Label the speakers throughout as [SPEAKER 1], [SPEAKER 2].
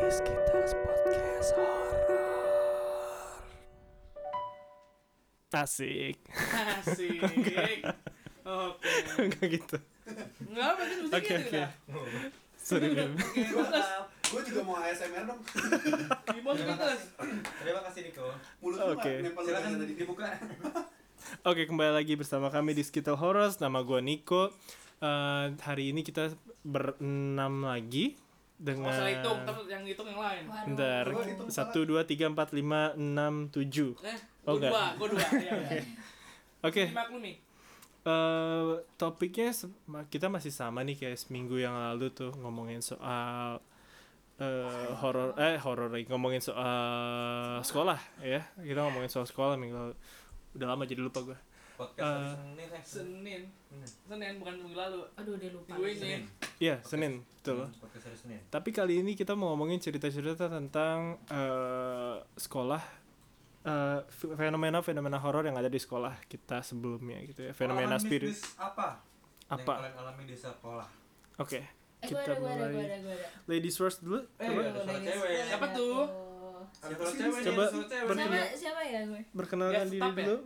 [SPEAKER 1] Bos Podcast Horror. Asik.
[SPEAKER 2] Asik. Oke.
[SPEAKER 1] Enggak gitu.
[SPEAKER 2] Enggak apa itu ya? musiknya
[SPEAKER 1] Oke, oke.
[SPEAKER 2] okay.
[SPEAKER 1] Sorry, Bim.
[SPEAKER 3] Gua maaf. Gua juga mau ASMR dong.
[SPEAKER 2] Bos Beatles.
[SPEAKER 1] Nah.
[SPEAKER 4] Terima kasih Niko.
[SPEAKER 3] Mulut lu
[SPEAKER 1] Oke.
[SPEAKER 3] nggak nempel
[SPEAKER 4] Silakan
[SPEAKER 3] dengan tadi.
[SPEAKER 4] tadi dibuka.
[SPEAKER 1] Oke, kembali lagi bersama kami di Skitel Horrors. Nama gua Niko. Eh, hari ini kita berenam lagi
[SPEAKER 2] Nggak
[SPEAKER 1] dengan
[SPEAKER 2] usah hitung, ntar yang hitung yang lain.
[SPEAKER 1] Bentar.
[SPEAKER 5] Oh,
[SPEAKER 3] Gua hitung salah.
[SPEAKER 1] Satu, dua, tiga, empat, lima, enam, tujuh.
[SPEAKER 2] Eh,
[SPEAKER 1] Oh,
[SPEAKER 2] gua
[SPEAKER 1] nggak.
[SPEAKER 2] dua, gua dua. Iya, iya.
[SPEAKER 1] Oke,
[SPEAKER 2] Dimaklumi.
[SPEAKER 1] eh topiknya se- ma- kita masih sama nih kayak seminggu yang lalu tuh ngomongin soal eh
[SPEAKER 2] ya.
[SPEAKER 1] horor eh horor lagi ngomongin soal sekolah ya kita ngomongin soal sekolah minggu lalu udah lama jadi lupa gue
[SPEAKER 4] Podcast
[SPEAKER 1] Eh.
[SPEAKER 4] hari Senin ya.
[SPEAKER 2] Senin.
[SPEAKER 4] Hmm,
[SPEAKER 2] Senin bukan minggu lalu.
[SPEAKER 5] Aduh, dia lupa.
[SPEAKER 2] Gue ini.
[SPEAKER 4] Senin.
[SPEAKER 1] Iya senin betul
[SPEAKER 4] Hmm, Podcast hari Senin.
[SPEAKER 1] tapi kali ini kita mau ngomongin cerita-cerita tentang eh sekolah eh, f- fenomena-fenomena horor yang ada di sekolah kita sebelumnya gitu ya fenomena
[SPEAKER 4] Pengalaman
[SPEAKER 1] spirit
[SPEAKER 4] mistis apa? Yang
[SPEAKER 1] apa
[SPEAKER 4] kalian alami di sekolah.
[SPEAKER 1] oke
[SPEAKER 5] Eh, gue
[SPEAKER 1] Kita
[SPEAKER 5] ada, gue ada, gue
[SPEAKER 1] mulai.
[SPEAKER 5] ada, gue ada.
[SPEAKER 1] ladies first dulu
[SPEAKER 4] Eh,
[SPEAKER 1] coba
[SPEAKER 4] ada suara cewek.
[SPEAKER 2] Siapa tuh?
[SPEAKER 4] Ada
[SPEAKER 3] Siapa
[SPEAKER 4] suara
[SPEAKER 3] sih?
[SPEAKER 4] cewek nih,
[SPEAKER 1] Coba
[SPEAKER 4] ada suara cewek.
[SPEAKER 1] Berarti
[SPEAKER 5] Siapa,
[SPEAKER 1] dia-
[SPEAKER 5] siapa ya gue?
[SPEAKER 1] berkenalan
[SPEAKER 2] Ya,
[SPEAKER 1] diri
[SPEAKER 2] stop ya.
[SPEAKER 1] dulu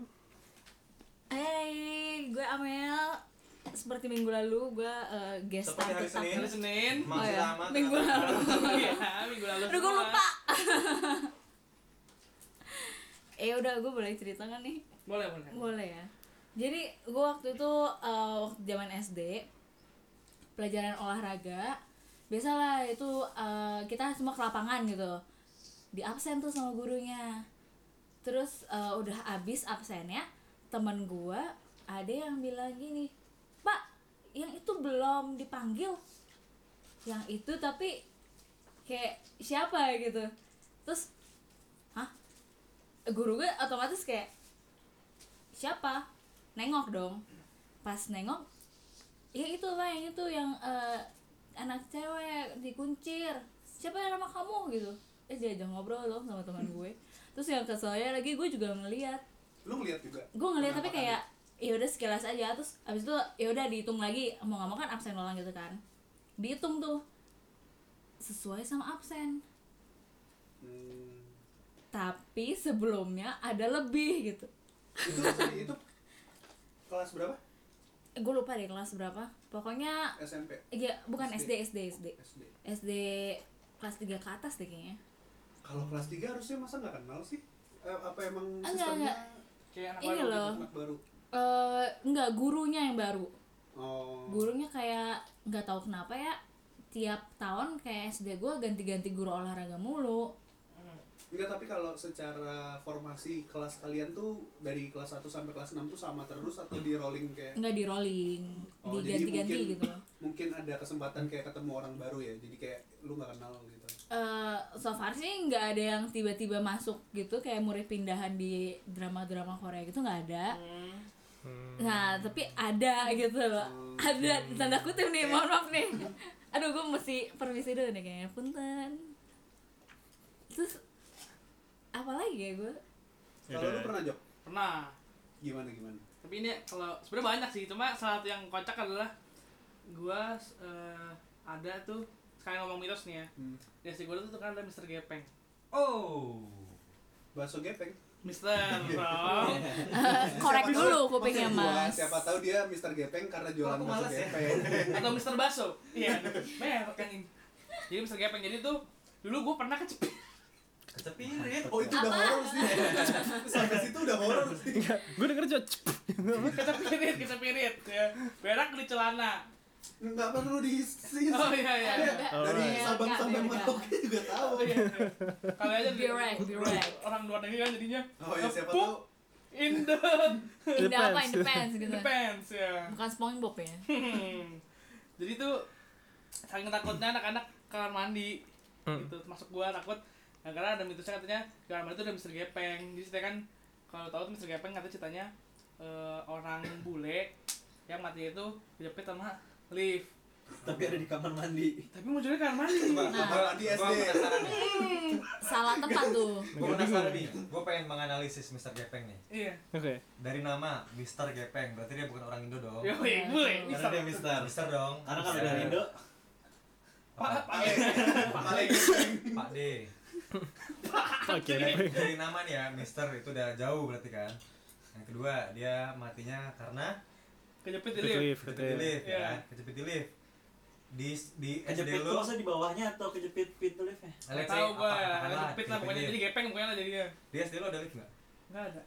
[SPEAKER 5] Hai, gue Amel. Seperti minggu lalu, gue eh, guest
[SPEAKER 4] Seperti hari
[SPEAKER 5] star tetap.
[SPEAKER 2] Hari Senin.
[SPEAKER 5] Oh
[SPEAKER 4] Masih
[SPEAKER 5] ya,
[SPEAKER 4] lama,
[SPEAKER 5] minggu
[SPEAKER 4] kenapa?
[SPEAKER 5] lalu.
[SPEAKER 2] Iya, minggu lalu.
[SPEAKER 5] Aduh, gue
[SPEAKER 2] semua.
[SPEAKER 5] lupa. eh, udah, gue boleh cerita kan nih?
[SPEAKER 2] Boleh, boleh.
[SPEAKER 5] Boleh ya. Jadi gue waktu itu eh, waktu zaman SD pelajaran olahraga biasalah itu eh, kita semua ke lapangan gitu di absen tuh sama gurunya terus eh, udah abis absennya temen gue ada yang bilang gini pak yang itu belum dipanggil yang itu tapi kayak siapa gitu terus hah guru gue otomatis kayak siapa nengok dong pas nengok ya itu lah yang itu yang eh, anak cewek dikuncir siapa yang nama kamu gitu eh dia aja ngobrol dong sama teman gue terus yang keselnya lagi gue juga ngeliat
[SPEAKER 3] Lu ngeliat juga.
[SPEAKER 5] gue ngeliat tapi kayak ya udah sekilas aja terus abis itu ya udah dihitung lagi mau nggak mau kan absen ulang gitu kan dihitung tuh sesuai sama absen
[SPEAKER 3] Hmm.
[SPEAKER 5] tapi sebelumnya ada lebih gitu
[SPEAKER 3] Itu sorry, itu kelas berapa?
[SPEAKER 5] gue lupa deh kelas berapa pokoknya
[SPEAKER 3] SMP.
[SPEAKER 5] ya bukan
[SPEAKER 3] SD.
[SPEAKER 5] SD SD SD
[SPEAKER 3] SD.
[SPEAKER 5] SD kelas 3 ke atas deh kayaknya
[SPEAKER 3] Kalau kelas 3 harusnya masa nggak kenal sih? Eh, apa emang
[SPEAKER 5] Enggak,
[SPEAKER 3] sistemnya
[SPEAKER 5] enggak.
[SPEAKER 2] Kayak anak
[SPEAKER 5] Ini
[SPEAKER 2] baru.
[SPEAKER 5] loh.
[SPEAKER 3] anak baru?
[SPEAKER 5] eh enggak gurunya yang baru
[SPEAKER 3] Oh.
[SPEAKER 5] gurunya kayak nggak tahu kenapa ya tiap tahun kayak SD gue ganti-ganti guru olahraga mulu
[SPEAKER 3] Enggak, tapi kalau secara formasi kelas kalian tuh dari kelas 1 sampai kelas 6 tuh sama terus atau di rolling kayak
[SPEAKER 5] nggak di rolling
[SPEAKER 3] Eh. Oh, jadi
[SPEAKER 5] diganti-ganti
[SPEAKER 3] mungkin-
[SPEAKER 5] gitu loh
[SPEAKER 3] mungkin ada kesempatan kayak ketemu orang baru ya. Jadi kayak lu nggak kenal gitu.
[SPEAKER 5] Eh, so far sih nggak ada yang tiba-tiba masuk gitu kayak murid pindahan di drama-drama Korea gitu nggak ada
[SPEAKER 2] Hmm.
[SPEAKER 5] Nah, tapi ada gitu loh. Ada tanda kutip nih, mohon maaf nih. Aduh, gue mesti permisi dulu nih kayaknya. Punten. Terus apa lagi ya gue?
[SPEAKER 4] Iya,
[SPEAKER 3] Kalau lu pernah Jok?
[SPEAKER 2] Pernah.
[SPEAKER 3] Gimana gimana?
[SPEAKER 2] tapi ini kalau sebenarnya banyak sih cuma salah satu yang kocak adalah gua eh, ada tuh sekarang ngomong mitos nih ya
[SPEAKER 3] Hmm.
[SPEAKER 2] di SD gua tuh kan ada Mister Gepeng
[SPEAKER 4] Oh.
[SPEAKER 3] Bakso gepeng.
[SPEAKER 2] Mister dong
[SPEAKER 5] Eh, korek
[SPEAKER 3] Siapa
[SPEAKER 5] dulu
[SPEAKER 3] tahu-
[SPEAKER 5] kupingnya
[SPEAKER 3] maksud gua,
[SPEAKER 5] Mas.
[SPEAKER 3] Siapa tahu dia Mr. Gepeng karena jualan
[SPEAKER 4] Aku
[SPEAKER 3] bakso
[SPEAKER 4] malas ya.
[SPEAKER 3] gepeng.
[SPEAKER 2] atau Mister Baso iya merek kan ini jadi Mister Gepeng jadi tuh dulu gua pernah kecepit
[SPEAKER 4] Kecepirit.
[SPEAKER 3] Oh itu udah horor sih. Sampai situ udah horor sih.
[SPEAKER 1] gue denger cok
[SPEAKER 2] kecepirit kecepirit ya berak di celana
[SPEAKER 3] Enggak perlu diisi.
[SPEAKER 2] oh iya iya
[SPEAKER 3] Iya. Dari
[SPEAKER 1] Alright.
[SPEAKER 3] Sabang
[SPEAKER 5] Nggak,
[SPEAKER 3] sampai
[SPEAKER 5] nggak.
[SPEAKER 3] Merauke juga tahu.
[SPEAKER 2] Oh, iya, iya. kali aja di-
[SPEAKER 5] Direct, direct.
[SPEAKER 2] orang luar negeri kan jadinya
[SPEAKER 3] Oh iya siapa
[SPEAKER 2] Puk,
[SPEAKER 3] tahu.
[SPEAKER 2] in the
[SPEAKER 5] Indah apa
[SPEAKER 1] Depends.
[SPEAKER 5] in the pants gitu.
[SPEAKER 2] in the pants ya
[SPEAKER 5] Bukan SpongeBob ya.
[SPEAKER 2] Hmm. Jadi tuh saking takutnya anak-anak kamar mandi
[SPEAKER 1] Hmm.
[SPEAKER 2] gitu. Masuk gua takut nah, karena ada mitosnya katanya di kamar mandi tuh ada Mister Gepeng. Jadi ceritanya kan kalau tahu tuh Mister Gepeng katanya ceritanya eh, orang bule yang matinya itu dijepit sama lift.
[SPEAKER 4] Tapi ada di kamar mandi.
[SPEAKER 2] Tapi munculnya kamar mandi.
[SPEAKER 4] Coba,
[SPEAKER 5] Nah.
[SPEAKER 4] Ah. gua-
[SPEAKER 3] Di
[SPEAKER 4] gua ya.
[SPEAKER 3] SD.
[SPEAKER 4] penasaran nih.
[SPEAKER 5] Salah tempat tuh.
[SPEAKER 4] Gua penasaran nih. Gua pengen menganalisis Mr. Gepeng nih.
[SPEAKER 2] Iya.
[SPEAKER 1] oke
[SPEAKER 4] Dari nama Mr. Gepeng, berarti dia bukan orang Indo dong.
[SPEAKER 2] Yo, iya, bule.
[SPEAKER 4] Karena dia Mister. Mister dong.
[SPEAKER 6] Karena kalau dari Indo,
[SPEAKER 2] Pak,
[SPEAKER 4] Pak
[SPEAKER 2] Pak.
[SPEAKER 3] Ale. Ale gepeng.
[SPEAKER 4] Pak D.
[SPEAKER 1] Oke.
[SPEAKER 4] Dari nama nih ya, Mister itu udah jauh berarti kan. Yang kedua, dia matinya karena
[SPEAKER 2] Kejepit di lift.
[SPEAKER 1] Kecil,
[SPEAKER 4] kejepit di lift
[SPEAKER 2] Iya.
[SPEAKER 4] ya, kejepit di lift. Di di SD
[SPEAKER 6] Kejepit tuh
[SPEAKER 4] lu,
[SPEAKER 6] maksudnya di bawahnya atau kejepit pintu liftnya?
[SPEAKER 2] Gak
[SPEAKER 4] Alex
[SPEAKER 2] tau
[SPEAKER 4] apa,
[SPEAKER 2] gua,
[SPEAKER 4] katakanlah
[SPEAKER 2] ada kejepit lah
[SPEAKER 4] kejepit
[SPEAKER 2] pokoknya.
[SPEAKER 4] lift.
[SPEAKER 2] Jadi gepeng pokoknya lah jadinya.
[SPEAKER 4] Di SD lu ada lift nggak?
[SPEAKER 2] Gak ada.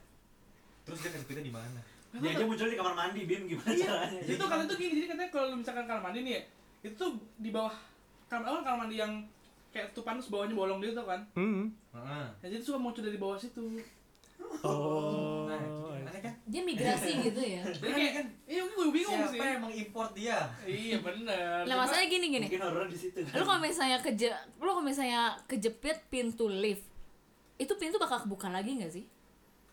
[SPEAKER 4] Terus dia kejepitnya di mana?
[SPEAKER 6] Dia aja muncul di kamar mandi, Bim gimana
[SPEAKER 2] Iya.
[SPEAKER 6] caranya?
[SPEAKER 2] Itu kata tuh gini, jadi katanya kalau lu misalkan kamar mandi nih ya, itu tuh di bawah kamar awal kamar mandi yang kayak tutupan terus bawahnya bolong gitu kan.
[SPEAKER 1] Hmm.
[SPEAKER 4] Heeh.
[SPEAKER 2] Nah, jadi suka muncul dari bawah situ.
[SPEAKER 1] Oh.
[SPEAKER 4] Nah, itu gimana kan?
[SPEAKER 5] Dia migrasi gitu ya.
[SPEAKER 2] Jadi kayak, iya gue bingung
[SPEAKER 4] Siapa
[SPEAKER 2] sih.
[SPEAKER 4] yang mengimpor dia?
[SPEAKER 2] Iya bener.
[SPEAKER 5] Nah,
[SPEAKER 2] Cuma-
[SPEAKER 5] masalahnya gini gini.
[SPEAKER 6] Mungkin horor di situ.
[SPEAKER 5] Lu kalau misalnya keje lu kalau misalnya kejepit pintu lift, itu pintu bakal kebuka lagi nggak sih?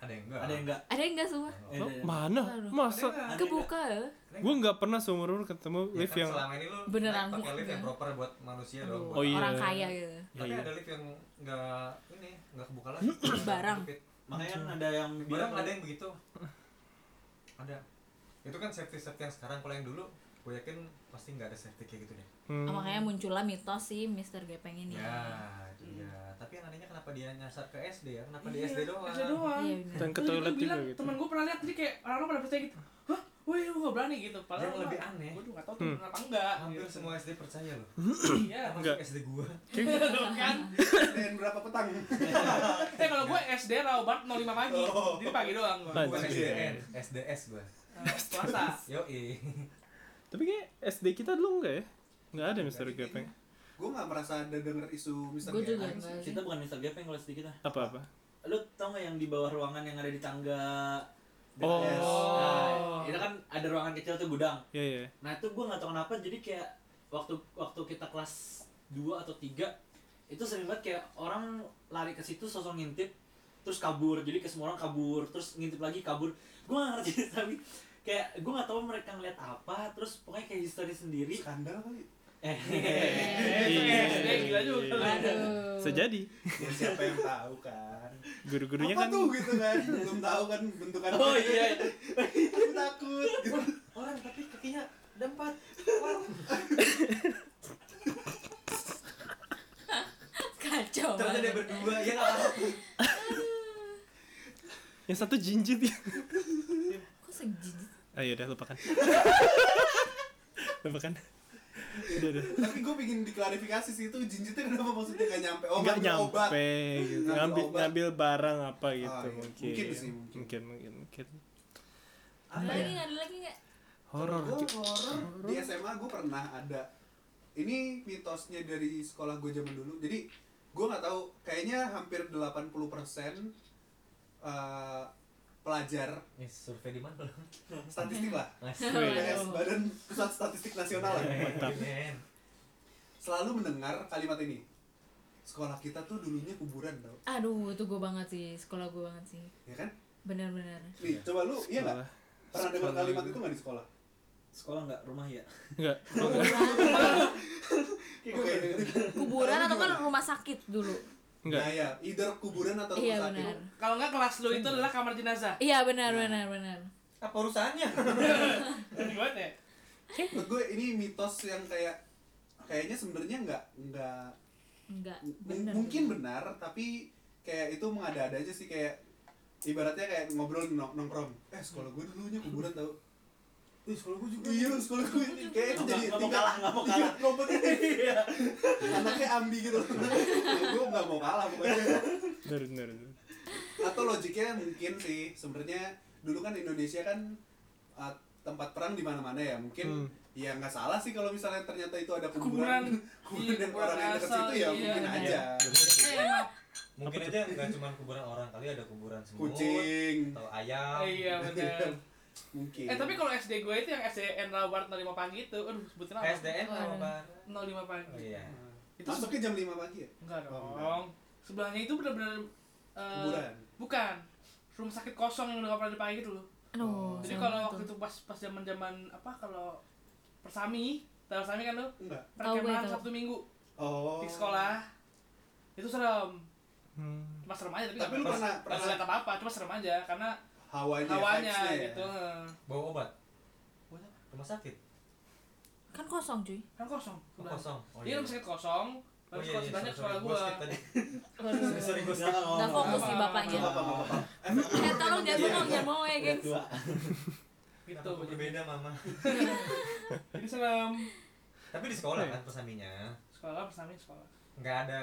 [SPEAKER 4] Ada yang enggak?
[SPEAKER 6] ada yang enggak?
[SPEAKER 5] Ada yang nggak semua?
[SPEAKER 1] Oh,
[SPEAKER 6] Eh, ada yang-
[SPEAKER 1] mana?
[SPEAKER 5] Aduh.
[SPEAKER 1] Masa?
[SPEAKER 4] Ada
[SPEAKER 5] Kebuka ya?
[SPEAKER 1] Gue nggak pernah seumur umur ketemu
[SPEAKER 4] Ya
[SPEAKER 1] lift
[SPEAKER 4] kan
[SPEAKER 1] yang.
[SPEAKER 4] selama ini lu
[SPEAKER 5] Iya. Beneran
[SPEAKER 4] naik pakai
[SPEAKER 5] gua
[SPEAKER 4] lift yang
[SPEAKER 5] enggak.
[SPEAKER 4] proper buat manusia dong.
[SPEAKER 5] Aduh,
[SPEAKER 4] buat
[SPEAKER 1] Oh iya.
[SPEAKER 5] Orang kaya gitu.
[SPEAKER 4] Tapi
[SPEAKER 1] Iya, iya.
[SPEAKER 4] ada lift yang nggak ini nggak kebuka lagi.
[SPEAKER 5] Barang.
[SPEAKER 4] Kejepit.
[SPEAKER 6] Makanya kan ada yang
[SPEAKER 4] Barang ada yang begitu. Ada. Itu kan safety safety yang sekarang kalau yang dulu gue yakin pasti nggak ada safety kayak gitu deh.
[SPEAKER 1] Hmm.
[SPEAKER 5] Ah, Makanya muncullah mitos sih Mister Gepeng ini.
[SPEAKER 4] Ya, iya. Tapi yang anehnya kenapa dia nyasar ke SD ya? Kenapa di
[SPEAKER 2] Iya,
[SPEAKER 4] SD doang?
[SPEAKER 2] SD doang.
[SPEAKER 5] Iya, bener.
[SPEAKER 1] Dan ke
[SPEAKER 2] Terus
[SPEAKER 1] toilet
[SPEAKER 2] gua
[SPEAKER 1] juga
[SPEAKER 2] bilang,
[SPEAKER 1] gitu.
[SPEAKER 2] Temen gue pernah lihat jadi kayak orang-orang pada percaya gitu. Hah? Wih, gue berani gitu. Padahal
[SPEAKER 4] Yang lebih aneh.
[SPEAKER 2] Gue juga gak tau tuh
[SPEAKER 1] Hmm.
[SPEAKER 2] bener apa enggak.
[SPEAKER 4] Hampir
[SPEAKER 2] gitu.
[SPEAKER 4] semua gitu. SD percaya loh.
[SPEAKER 2] Iya.
[SPEAKER 1] Enggak.
[SPEAKER 4] Enggak. SD gua.
[SPEAKER 2] Tuh kan.
[SPEAKER 3] dan berapa petang
[SPEAKER 2] Eh kalau gue SD Raubat 05 pagi.
[SPEAKER 4] Oh.
[SPEAKER 2] Jadi pagi doang gue.
[SPEAKER 1] Anjir.
[SPEAKER 4] Bukan SDN, SDS gua.
[SPEAKER 2] Puasa.
[SPEAKER 4] Yoi.
[SPEAKER 1] Tapi kayak SD kita dulu nggak ya? Nggak ada Mister
[SPEAKER 4] Nggak ada.
[SPEAKER 1] Gepeng.
[SPEAKER 3] gue nggak merasa ada denger isu Mister
[SPEAKER 5] Gue juga
[SPEAKER 3] Gepeng.
[SPEAKER 5] enggak sih.
[SPEAKER 6] kita bukan Mister Gepeng kalau sedikit lah.
[SPEAKER 1] Apa apa?
[SPEAKER 6] Lu tau nggak yang di bawah ruangan yang ada di tangga
[SPEAKER 1] Oh.
[SPEAKER 6] BTS? Nah, itu kan ada ruangan kecil tuh gudang.
[SPEAKER 1] Iya iya.
[SPEAKER 6] Nah itu gue nggak tahu kenapa jadi kayak waktu waktu kita kelas 2 atau 3 itu sering banget kayak orang lari ke situ sosok ngintip terus kabur jadi ke semua orang kabur terus ngintip lagi kabur gue gak ngerti tapi kayak gue gak tahu mereka ngeliat apa terus pokoknya kayak histori sendiri
[SPEAKER 3] skandal kali
[SPEAKER 6] eh
[SPEAKER 2] Eh, itu
[SPEAKER 1] Iya.
[SPEAKER 2] SD gila juga.
[SPEAKER 5] Aduh.
[SPEAKER 1] Sejadi
[SPEAKER 3] ya, siapa yang tahu kan
[SPEAKER 1] guru-gurunya kan
[SPEAKER 3] apa tuh gitu kan belum tahu kan bentukan
[SPEAKER 6] oh iya
[SPEAKER 3] Aku takut gitu
[SPEAKER 4] Orang tapi kakinya ada empat. Orang
[SPEAKER 5] Kacau.
[SPEAKER 4] ternyata dia
[SPEAKER 5] banget.
[SPEAKER 4] berdua ya nggak apa-apa.
[SPEAKER 1] yang satu jinjit ya.
[SPEAKER 5] Kok sejijit?
[SPEAKER 1] Ayo udah lupakan. lupakan. Udah udah.
[SPEAKER 3] tapi gue pingin diklarifikasi sih itu jinjitnya kenapa maksudnya gak nyampe oh
[SPEAKER 1] nggak
[SPEAKER 3] ngambil obat
[SPEAKER 1] nyampe gitu.
[SPEAKER 3] Ngambil
[SPEAKER 1] Ngambil
[SPEAKER 3] obat.
[SPEAKER 1] ngambil barang apa gitu
[SPEAKER 3] Ah, iya.
[SPEAKER 1] mungkin.
[SPEAKER 3] Mungkin sih, mungkin.
[SPEAKER 1] mungkin mungkin. mungkin.
[SPEAKER 5] Ada lagi nggak? Ada lagi nggak?
[SPEAKER 1] Horor.
[SPEAKER 3] Gua horor di SMA gue pernah ada ini mitosnya dari sekolah gue zaman dulu jadi gue nggak tahu kayaknya hampir 80% eh, pelajar
[SPEAKER 4] Nih, Eh, survei di mana lo?
[SPEAKER 3] statistik lah
[SPEAKER 1] Wih.
[SPEAKER 3] BPS Badan Pusat Statistik Nasional lah
[SPEAKER 1] Mantap.
[SPEAKER 4] Men.
[SPEAKER 3] selalu mendengar kalimat ini sekolah kita tuh dulunya kuburan tau
[SPEAKER 5] Aduh, itu gue banget sih, sekolah gue banget sih.
[SPEAKER 3] ya kan
[SPEAKER 5] Bener-bener.
[SPEAKER 3] nih coba lu iya nggak
[SPEAKER 1] Sekolah.
[SPEAKER 3] pernah dengar kalimat itu nggak di sekolah
[SPEAKER 6] sekolah nggak rumah ya
[SPEAKER 1] Enggak.
[SPEAKER 3] oke
[SPEAKER 5] Kuburan atau kan rumah sakit dulu.
[SPEAKER 1] Enggak.
[SPEAKER 3] nah ya either kuburan atau ya.
[SPEAKER 5] Iya
[SPEAKER 3] rumah sakit
[SPEAKER 5] benar.
[SPEAKER 2] Kalau nggak kelas lu itu adalah kamar jenazah.
[SPEAKER 5] Iya benar benar benar.
[SPEAKER 4] Apa urusannya?
[SPEAKER 2] Gimana ya?
[SPEAKER 3] menurut gue ini mitos yang kayak kayaknya sebenarnya nggak nggak
[SPEAKER 5] Enggak.
[SPEAKER 3] m-
[SPEAKER 5] Benar.
[SPEAKER 3] mungkin benar tapi kayak itu mengada-ada aja sih kayak ibaratnya kayak ngobrol nong- nongkrong eh sekolah gue dulunya kuburan tau Ih, sekolah gue juga iya sekolah gue ini kayak itu
[SPEAKER 6] Nggak-
[SPEAKER 3] jadi
[SPEAKER 6] nggak mau
[SPEAKER 3] tingkat-
[SPEAKER 6] kalah, nggak mau kalah.
[SPEAKER 4] Iya.
[SPEAKER 3] tingkat kompetitif. anaknya ambi gitu Ya, gue nggak mau kalah pokoknya
[SPEAKER 1] Bener, bener, bener.
[SPEAKER 3] atau logiknya mungkin sih sebenarnya dulu kan Indonesia kan uh, tempat perang di mana-mana ya mungkin
[SPEAKER 1] Hmm.
[SPEAKER 3] ya nggak salah sih kalau misalnya ternyata itu ada
[SPEAKER 2] Kuburan.
[SPEAKER 3] kuburan kuburan dan
[SPEAKER 2] Iya,
[SPEAKER 3] orang yang dekat
[SPEAKER 2] asal,
[SPEAKER 3] situ ya
[SPEAKER 2] iya,
[SPEAKER 3] mungkin
[SPEAKER 2] iya.
[SPEAKER 3] aja
[SPEAKER 2] Eh, emang.
[SPEAKER 4] Mungkin aja nggak cuma kuburan orang kali ada kuburan semut
[SPEAKER 3] kucing
[SPEAKER 4] atau ayam.
[SPEAKER 2] Iya bener.
[SPEAKER 3] mungkin
[SPEAKER 2] Eh tapi kalau SD gue itu yang SDN Raubat 05 pagi itu, aduh sebutin apa?
[SPEAKER 4] SDN apa? Bang?
[SPEAKER 2] 05
[SPEAKER 4] Oh,
[SPEAKER 2] pagi.
[SPEAKER 4] Iya.
[SPEAKER 3] itu masuknya jam 5 pagi ya
[SPEAKER 2] Enggak
[SPEAKER 3] Oh,
[SPEAKER 2] dong. Sebelahnya itu benar-benar eh,
[SPEAKER 3] kuburan
[SPEAKER 2] bukan rumah sakit kosong yang udah nggak pernah dipakai gitu loh.
[SPEAKER 5] Aduh.
[SPEAKER 2] Jadi
[SPEAKER 5] serem
[SPEAKER 2] kalau waktu
[SPEAKER 5] tuh.
[SPEAKER 2] itu pas pas zaman-zaman apa kalau persami, tahu persami kan lu?
[SPEAKER 3] enggak
[SPEAKER 5] Tahu gue,
[SPEAKER 2] Perkemahan
[SPEAKER 5] tahu.
[SPEAKER 2] Sabtu Minggu
[SPEAKER 3] oh
[SPEAKER 2] di sekolah. Itu serem.
[SPEAKER 1] Hmm.
[SPEAKER 2] Cuma serem aja tapi
[SPEAKER 3] Tapi
[SPEAKER 2] nggak
[SPEAKER 3] lu
[SPEAKER 2] pers-
[SPEAKER 3] pernah-
[SPEAKER 2] pers-
[SPEAKER 3] pernah-
[SPEAKER 2] nggak apa-apa, cuma serem aja karena
[SPEAKER 3] hawanya
[SPEAKER 2] hawanya
[SPEAKER 3] vibes-nya ya.
[SPEAKER 2] gitu. eh.
[SPEAKER 4] Bawa obat.
[SPEAKER 2] Buat apa?
[SPEAKER 4] Rumah sakit.
[SPEAKER 5] Kan kosong cuy.
[SPEAKER 2] Kan kosong.
[SPEAKER 4] Oh,
[SPEAKER 2] sebelah.
[SPEAKER 4] kosong. Oh,
[SPEAKER 2] Iya, Dia rumah sakit kosong. Terus sekolah sebelahnya
[SPEAKER 4] iya,
[SPEAKER 2] sekolah
[SPEAKER 4] sorry, sorry. Gua
[SPEAKER 2] gua. Gitu.
[SPEAKER 4] skip tadi.
[SPEAKER 5] Waduh.
[SPEAKER 4] fokus.
[SPEAKER 6] Nggak akan
[SPEAKER 5] Nggak
[SPEAKER 6] ngomong.
[SPEAKER 5] fokus ya, nih bapaknya.
[SPEAKER 3] Nggak apa-apa, Iya. nggak apa-apa.
[SPEAKER 5] Eh tolong jangan bengong, jangan bengong ya
[SPEAKER 6] Udah
[SPEAKER 5] gengs
[SPEAKER 6] tua.
[SPEAKER 2] gitu
[SPEAKER 4] Kenapa aku berbeda mama?
[SPEAKER 2] jadi serem
[SPEAKER 4] Tapi di sekolah kan pesandinya
[SPEAKER 2] sekolah persamanya sekolah
[SPEAKER 4] nggak ada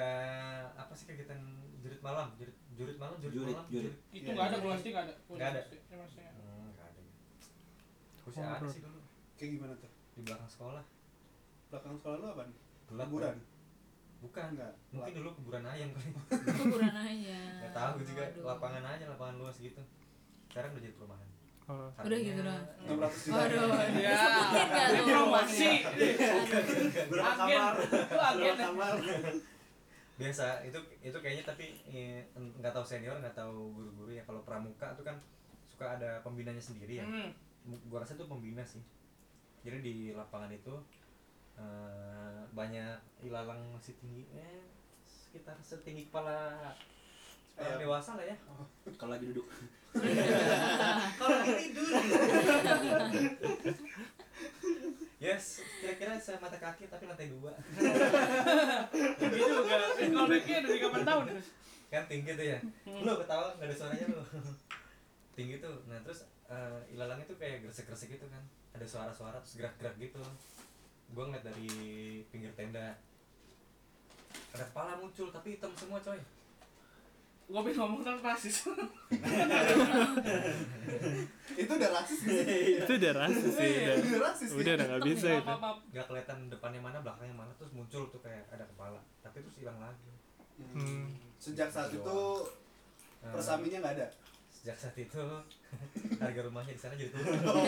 [SPEAKER 4] apa sih kegiatan jurit malam, jurit jurit malam, jurit,
[SPEAKER 6] Jurit,
[SPEAKER 4] malam,
[SPEAKER 6] jurit.
[SPEAKER 2] itu
[SPEAKER 3] Iya,
[SPEAKER 2] nggak ada
[SPEAKER 3] iya.
[SPEAKER 2] kelas nggak ada
[SPEAKER 4] Nggak ada.
[SPEAKER 2] Emang sih, ya.
[SPEAKER 4] Hmm, nggak ada. Aku sih ada sih dulu
[SPEAKER 3] Kayak gimana tuh?
[SPEAKER 4] di belakang sekolah.
[SPEAKER 3] Belakang sekolah lu apa nih?
[SPEAKER 4] Gelap
[SPEAKER 3] Kuburan?
[SPEAKER 4] Bukan.
[SPEAKER 3] Enggak.
[SPEAKER 4] Mungkin dulu kuburan ayam kali.
[SPEAKER 5] Kuburan aja
[SPEAKER 4] Gak tahu gue juga
[SPEAKER 5] Aduh.
[SPEAKER 4] lapangan aja lapangan luas gitu. Sekarang udah jadi perumahan.
[SPEAKER 1] Oh.
[SPEAKER 5] Udah gitu doang.
[SPEAKER 3] 600 juta.
[SPEAKER 5] Waduh,
[SPEAKER 2] Iya.
[SPEAKER 5] disebutin gak
[SPEAKER 2] Ini
[SPEAKER 5] tuh
[SPEAKER 2] promosi.
[SPEAKER 5] rumahnya?
[SPEAKER 6] Berapa
[SPEAKER 2] Agen.
[SPEAKER 6] kamar?
[SPEAKER 2] Itu agen.
[SPEAKER 6] Berapa kamar?
[SPEAKER 4] biasa itu itu kayaknya tapi eh, en- nggak tahu senior nggak tahu guru-guru ya kalau pramuka itu kan suka ada pembinanya sendiri ya
[SPEAKER 2] Hmm.
[SPEAKER 4] M- gua rasa itu pembina sih jadi di lapangan itu eh, banyak ilalang masih tinggi eh, sekitar setinggi kepala orang
[SPEAKER 3] Ayam.
[SPEAKER 4] dewasa lah ya
[SPEAKER 6] Kalau lagi duduk.
[SPEAKER 4] kalau lagi tidur yes kira-kira semata kaki tapi lantai dua
[SPEAKER 2] Tinggi juga. Eh, Kalau Becky ada di kapan tahun itu?
[SPEAKER 4] kan tinggi tuh ya lu ketawa nggak ada suaranya lu tinggi tuh nah terus eh, ilalangnya tuh kayak gresek-gresek gitu kan ada suara-suara terus gerak-gerak gitu gua ngeliat dari pinggir tenda ada kepala muncul tapi hitam semua coy
[SPEAKER 2] Gue pengen ngomong tentang rasis.
[SPEAKER 3] Itu udah rasis gitu.
[SPEAKER 1] itu udah rasis sih udah
[SPEAKER 3] Udah rasis gitu.
[SPEAKER 1] iya. udah udah nggak bisa
[SPEAKER 2] Maaf,
[SPEAKER 1] itu
[SPEAKER 2] maaf, maaf.
[SPEAKER 4] nggak kelihatan depannya mana belakangnya mana terus muncul tuh kayak ada kepala tapi terus hilang lagi
[SPEAKER 1] Hmm.
[SPEAKER 3] Sejak saat itu
[SPEAKER 4] Eh,
[SPEAKER 3] persaminya nggak ada.
[SPEAKER 4] sejak saat itu harga rumahnya di sana jadi turun
[SPEAKER 3] Ngaruh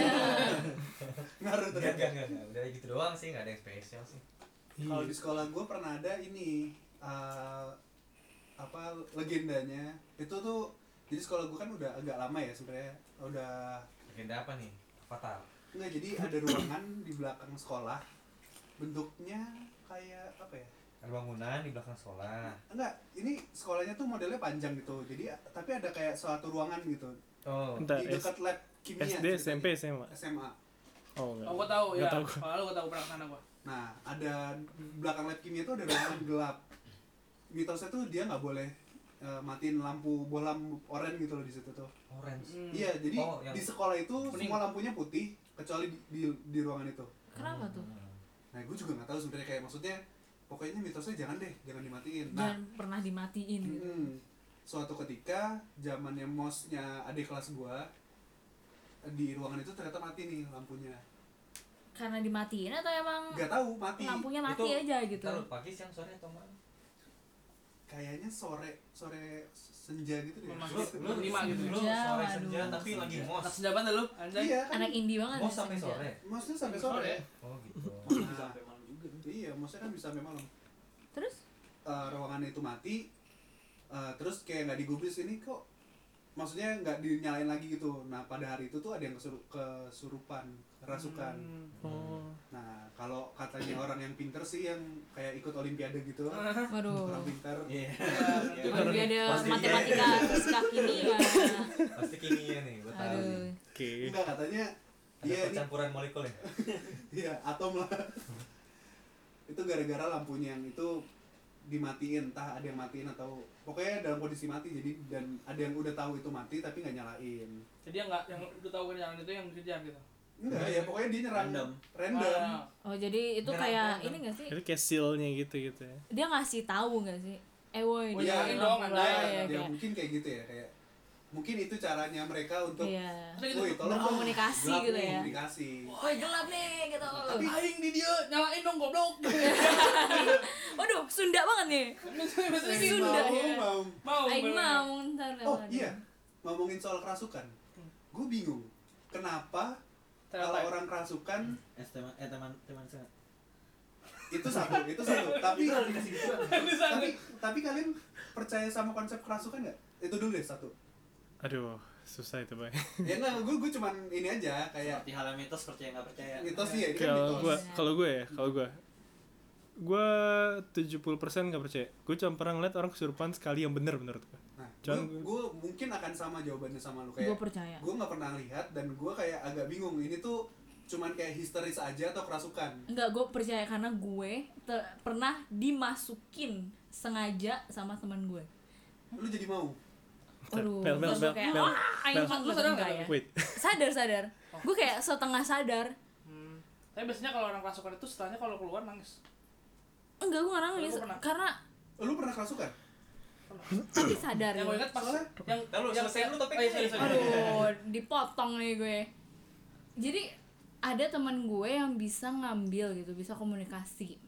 [SPEAKER 4] Nggak, nggak,
[SPEAKER 3] ternyata.
[SPEAKER 4] nggak, nggak. udah gitu doang sih nggak ada yang spesial sih
[SPEAKER 3] Kalau di sekolah gue pernah ada ini eh, apa legendanya itu tuh jadi sekolah gue kan udah agak lama ya sebenarnya udah
[SPEAKER 4] legenda apa nih fatal
[SPEAKER 3] Enggak, jadi ada ruangan di belakang sekolah. Bentuknya kayak apa ya?
[SPEAKER 4] ada bangunan di belakang sekolah
[SPEAKER 3] Enggak, ini sekolahnya tuh modelnya panjang gitu. Jadi tapi ada kayak suatu ruangan gitu.
[SPEAKER 4] oh
[SPEAKER 1] Bentar,
[SPEAKER 3] di dekat lab kimia.
[SPEAKER 1] SD
[SPEAKER 3] ceritanya.
[SPEAKER 1] SMP SMA
[SPEAKER 3] SMA.
[SPEAKER 1] oh enggak
[SPEAKER 2] Oh, gue tahu ya.
[SPEAKER 1] Nggak tahu.
[SPEAKER 2] Kalau gue tahu pernah kesana gue.
[SPEAKER 3] Nah, ada di belakang lab kimia tuh ada ruangan gelap. Mitosnya tuh dia nggak boleh eh, matiin lampu bolam oranye gitu loh di situ tuh.
[SPEAKER 4] orange
[SPEAKER 5] Hmm.
[SPEAKER 3] Iya, jadi
[SPEAKER 4] Oh, yang-
[SPEAKER 3] di sekolah itu
[SPEAKER 2] Kuning.
[SPEAKER 3] semua lampunya putih kecuali di, di, di ruangan itu.
[SPEAKER 5] Kenapa tuh?
[SPEAKER 4] Hmm.
[SPEAKER 3] Nah, gue juga nggak tahu sebenarnya kayak maksudnya pokoknya mitosnya jangan deh, jangan dimatiin. Nah,
[SPEAKER 5] Jangan pernah dimatiin gitu
[SPEAKER 3] Hmm. Suatu ketika zamannya mosnya adik kelas gua di ruangan itu ternyata mati nih lampunya.
[SPEAKER 5] Karena dimatiin atau emang
[SPEAKER 3] Gak tahu mati.
[SPEAKER 5] lampunya mati aja gitu
[SPEAKER 4] Taruh pagi siang sore atau malam.
[SPEAKER 3] Kayaknya sore sore senja gitu deh.
[SPEAKER 2] Memang
[SPEAKER 4] Lu
[SPEAKER 2] gitu.
[SPEAKER 4] lu
[SPEAKER 2] Lima gitu.
[SPEAKER 4] Lu
[SPEAKER 5] Senja,
[SPEAKER 4] sore
[SPEAKER 5] waduh.
[SPEAKER 4] senja tapi lagi mos.
[SPEAKER 2] Anak sejabat dah lu, anjay.
[SPEAKER 3] Iya kan?
[SPEAKER 5] Anak indie banget
[SPEAKER 4] Mos
[SPEAKER 5] ya,
[SPEAKER 4] sampai
[SPEAKER 5] senja.
[SPEAKER 4] sore.
[SPEAKER 3] Mosnya sampai sore. Nah,
[SPEAKER 4] Oh gitu.
[SPEAKER 6] ya. Bisa sampai malam juga.
[SPEAKER 3] Iya, mosnya kan bisa sampai malam.
[SPEAKER 5] Terus?
[SPEAKER 3] Eh, ruangan itu mati. eh, terus kayak nggak digubris ini kok maksudnya nggak dinyalain lagi gitu. Nah pada hari itu tuh ada yang kesuru- kesurupan, kerasukan.
[SPEAKER 2] Hmm.
[SPEAKER 1] oh
[SPEAKER 3] Nah kalau katanya orang yang pinter sih yang kayak ikut olimpiade gitu.
[SPEAKER 5] Waduh
[SPEAKER 3] orang pintar
[SPEAKER 4] Iya.
[SPEAKER 5] Kalau dia ada
[SPEAKER 4] Pasti dia.
[SPEAKER 5] matematika fisika kimia
[SPEAKER 4] Pasti kimia nih, gua tahu nih.
[SPEAKER 5] Aduh
[SPEAKER 1] oke
[SPEAKER 3] enggak katanya
[SPEAKER 4] Ada
[SPEAKER 3] iya ini
[SPEAKER 4] percampuran molekul ya.
[SPEAKER 3] iya atom lah itu gara-gara lampunya yang itu dimatiin entah ada yang matiin atau pokoknya dalam kondisi mati jadi dan ada yang udah tahu itu mati tapi nggak nyalain
[SPEAKER 2] Jadi yang nggak yang udah tahu kan jalan itu yang dikejar gitu.
[SPEAKER 3] enggak ya pokoknya dia nyerang
[SPEAKER 6] Random.
[SPEAKER 3] random
[SPEAKER 2] Ah,
[SPEAKER 5] Oh jadi itu
[SPEAKER 4] Nyerang
[SPEAKER 5] kayak
[SPEAKER 2] kan?
[SPEAKER 4] random.
[SPEAKER 5] ini gak sih?
[SPEAKER 1] itu kayak sealnya gitu gitu ya
[SPEAKER 5] Dia ngasih tahu gak sih? Eh woi
[SPEAKER 2] Oh,
[SPEAKER 5] dia
[SPEAKER 2] iya,
[SPEAKER 5] nyalain
[SPEAKER 2] dong,
[SPEAKER 5] lampu,
[SPEAKER 2] ada.
[SPEAKER 5] ya,
[SPEAKER 3] ya,
[SPEAKER 5] kayak-
[SPEAKER 3] mungkin kayak gitu ya kayak mungkin itu caranya mereka untuk
[SPEAKER 5] Iya
[SPEAKER 2] Tapi gitu,
[SPEAKER 3] woi tolong dong,
[SPEAKER 5] Berkomunikasi
[SPEAKER 3] gelap
[SPEAKER 5] gitu
[SPEAKER 3] nih,
[SPEAKER 5] ya
[SPEAKER 3] komunikasi
[SPEAKER 5] Woi gelap nih gitu
[SPEAKER 2] aing di dia nyalain dong goblok.
[SPEAKER 5] Waduh Sunda banget nih
[SPEAKER 2] Maksudnya
[SPEAKER 5] Sunda
[SPEAKER 2] gitu.
[SPEAKER 5] ya.
[SPEAKER 3] mau
[SPEAKER 2] Mau.
[SPEAKER 5] Aing
[SPEAKER 2] bener-bener.
[SPEAKER 5] mau ntar
[SPEAKER 3] oh
[SPEAKER 5] kalau ada.
[SPEAKER 3] iya ngomongin soal kerasukan gue bingung kenapa kalau
[SPEAKER 2] Ternyata-
[SPEAKER 3] orang kerasukan
[SPEAKER 6] Eh teman eh teman teman saya.
[SPEAKER 3] itu satu itu satu tapi
[SPEAKER 6] Kita dikasih gitu.
[SPEAKER 2] Di sana.
[SPEAKER 3] tapi tapi kalian percaya sama konsep kerasukan nggak itu dulu deh satu
[SPEAKER 1] aduh susah itu bay
[SPEAKER 3] ya nggak gue gue cuman ini aja kayak
[SPEAKER 6] Seperti hal yang mitos percaya nggak percaya.
[SPEAKER 3] mitos sih ya ini kan
[SPEAKER 1] kalau
[SPEAKER 3] mitos.
[SPEAKER 1] gue kalau gue ya kalau gue gue 70% gak percaya gue cuma pernah ngeliat orang kesurupan sekali yang bener menurut gue
[SPEAKER 3] nah gue
[SPEAKER 1] Cuman gua-
[SPEAKER 3] gue mungkin akan sama jawabannya sama lu
[SPEAKER 5] Gue
[SPEAKER 3] kayak
[SPEAKER 5] percaya
[SPEAKER 3] gue nggak pernah lihat dan gue kayak agak bingung ini tuh cuman kayak histeris aja atau kerasukan
[SPEAKER 5] Enggak, gue percaya karena gue te- pernah dimasukin sengaja sama teman gue.
[SPEAKER 3] lu jadi mau
[SPEAKER 5] Aduh,
[SPEAKER 1] Mel, Mel,
[SPEAKER 5] terus gue
[SPEAKER 1] Mel,
[SPEAKER 5] kayak,
[SPEAKER 1] Mel.
[SPEAKER 5] wah, anjing
[SPEAKER 1] Mel.
[SPEAKER 5] banget."
[SPEAKER 2] Lu sadar
[SPEAKER 5] Enggak
[SPEAKER 2] nggak
[SPEAKER 5] ya?
[SPEAKER 1] Wait,
[SPEAKER 5] Sadar, sadar.
[SPEAKER 2] Oh.
[SPEAKER 5] Gue kayak setengah sadar.
[SPEAKER 2] Hmm. Tapi biasanya kalau orang kerasukan itu setelahnya kalau keluar nangis.
[SPEAKER 5] Enggak, gue nggak nangis.
[SPEAKER 2] Lu pernah?
[SPEAKER 5] Karena,
[SPEAKER 3] lu pernah kerasukan
[SPEAKER 5] tapi sadar.
[SPEAKER 2] Yang gue
[SPEAKER 5] ya.
[SPEAKER 2] ingat pas
[SPEAKER 3] Soalnya-
[SPEAKER 2] yang
[SPEAKER 4] Ntar lu,
[SPEAKER 2] yang-
[SPEAKER 4] selesaiin lu topiknya.
[SPEAKER 2] Oh, iya, sorry, sorry.
[SPEAKER 5] Aduh, dipotong nih gue. Jadi ada teman gue yang bisa ngambil gitu, bisa komunikasi.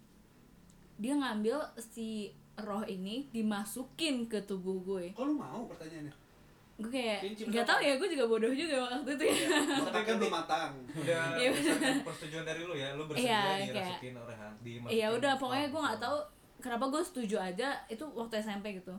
[SPEAKER 5] Dia ngambil si roh ini dimasukin ke tubuh gue.
[SPEAKER 3] kok lu mau pertanyaannya
[SPEAKER 5] Gue kayak
[SPEAKER 2] Cincin
[SPEAKER 5] nggak tahu
[SPEAKER 2] apa?
[SPEAKER 5] ya, gue juga bodoh juga waktu itu ya.
[SPEAKER 3] otaknya kan belum matang
[SPEAKER 4] udah
[SPEAKER 5] Iya.
[SPEAKER 4] misalkan persetujuan dari lu ya lu bersedia
[SPEAKER 5] Iya,
[SPEAKER 4] dirasukin oleh Han- dimasukin.
[SPEAKER 5] Iya udah, pokoknya gue nggak tahu kenapa gue setuju aja itu waktu SMP gitu.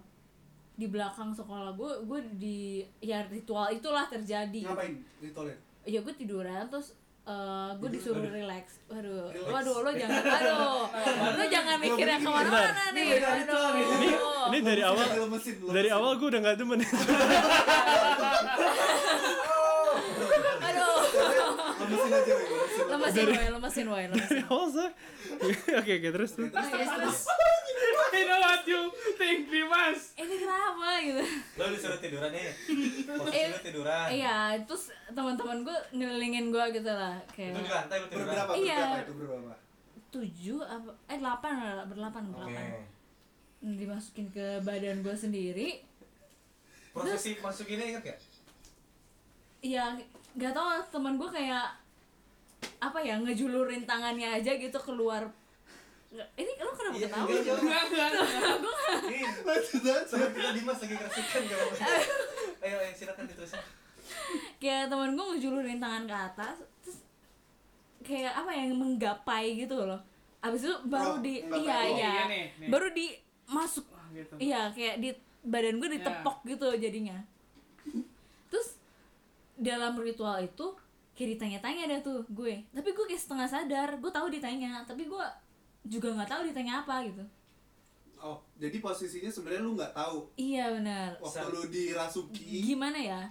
[SPEAKER 5] Di belakang sekolah gue, gue di ya ritual itulah terjadi. gitu.
[SPEAKER 3] ngapain di toilet
[SPEAKER 5] ya gue tiduran terus eh gue disuruh relax waduh
[SPEAKER 3] Relax.
[SPEAKER 5] waduh lo jangan aduh lo jangan mikir yang kemana-mana
[SPEAKER 3] Bentar.
[SPEAKER 5] nih
[SPEAKER 3] Ini beda ritual nih.
[SPEAKER 5] aduh
[SPEAKER 1] ini dari awal
[SPEAKER 3] Lo mesin, lo
[SPEAKER 1] dari
[SPEAKER 3] mesin.
[SPEAKER 1] awal gue udah nggak demen.
[SPEAKER 5] aduh
[SPEAKER 3] lemesin aja weh, lemesin.
[SPEAKER 5] lemesin
[SPEAKER 1] Dari-
[SPEAKER 5] woi lemesin woi
[SPEAKER 1] dari
[SPEAKER 5] lemesin
[SPEAKER 1] awal saya. Oke oke terus
[SPEAKER 3] Oke,
[SPEAKER 1] terus.
[SPEAKER 5] Nah,
[SPEAKER 3] terus,
[SPEAKER 5] ya,
[SPEAKER 3] terus, terus.
[SPEAKER 2] I know what you think, Dimas.
[SPEAKER 5] "Eh, ini kenapa gitu
[SPEAKER 4] lu disuruh tiduran ya? nih posisi
[SPEAKER 5] Eh,
[SPEAKER 4] lu tiduran
[SPEAKER 5] iya terus teman-teman gue ngelilingin gue gitu lah
[SPEAKER 4] itu di
[SPEAKER 5] kayak
[SPEAKER 4] lantai lu tiduran
[SPEAKER 3] berberapa
[SPEAKER 5] Iya.
[SPEAKER 3] berberapa itu berberapa
[SPEAKER 5] tujuh apa eh delapan berlapan
[SPEAKER 4] oke
[SPEAKER 5] berlapan dimasukin ke badan gue sendiri
[SPEAKER 4] prosesi masukinnya inget gak
[SPEAKER 5] ya nggak tahu teman gue kayak apa ya ngejulurin tangannya aja gitu keluar Nggak, ini lo kenapa
[SPEAKER 4] Iya,
[SPEAKER 5] ketawa
[SPEAKER 4] iya, iya.
[SPEAKER 2] Enggak, enggak.
[SPEAKER 4] Ih,
[SPEAKER 3] lanjut aja
[SPEAKER 4] sama kita Dimas lagi kerasukan gak apa-apa ayo ayo silakan diterusin
[SPEAKER 5] kayak teman gue ngejulurin tangan ke atas terus kayak apa yang menggapai gitu loh abis itu baru
[SPEAKER 3] Oh,
[SPEAKER 5] di
[SPEAKER 3] menggapai.
[SPEAKER 5] iya
[SPEAKER 3] Oh,
[SPEAKER 5] iya
[SPEAKER 2] iya nih, nih.
[SPEAKER 5] baru di masuk
[SPEAKER 2] Wah, gitu.
[SPEAKER 5] iya kayak di badan gue ditepok gitu jadinya terus dalam ritual itu kayak ditanya-tanya dah tuh gue tapi gue kayak setengah sadar gue tahu ditanya tapi gue juga nggak tahu ditanya apa gitu
[SPEAKER 3] oh jadi posisinya sebenarnya lu nggak tahu
[SPEAKER 5] iya benar
[SPEAKER 4] Sa-
[SPEAKER 3] waktu lu dirasuki
[SPEAKER 5] gimana ya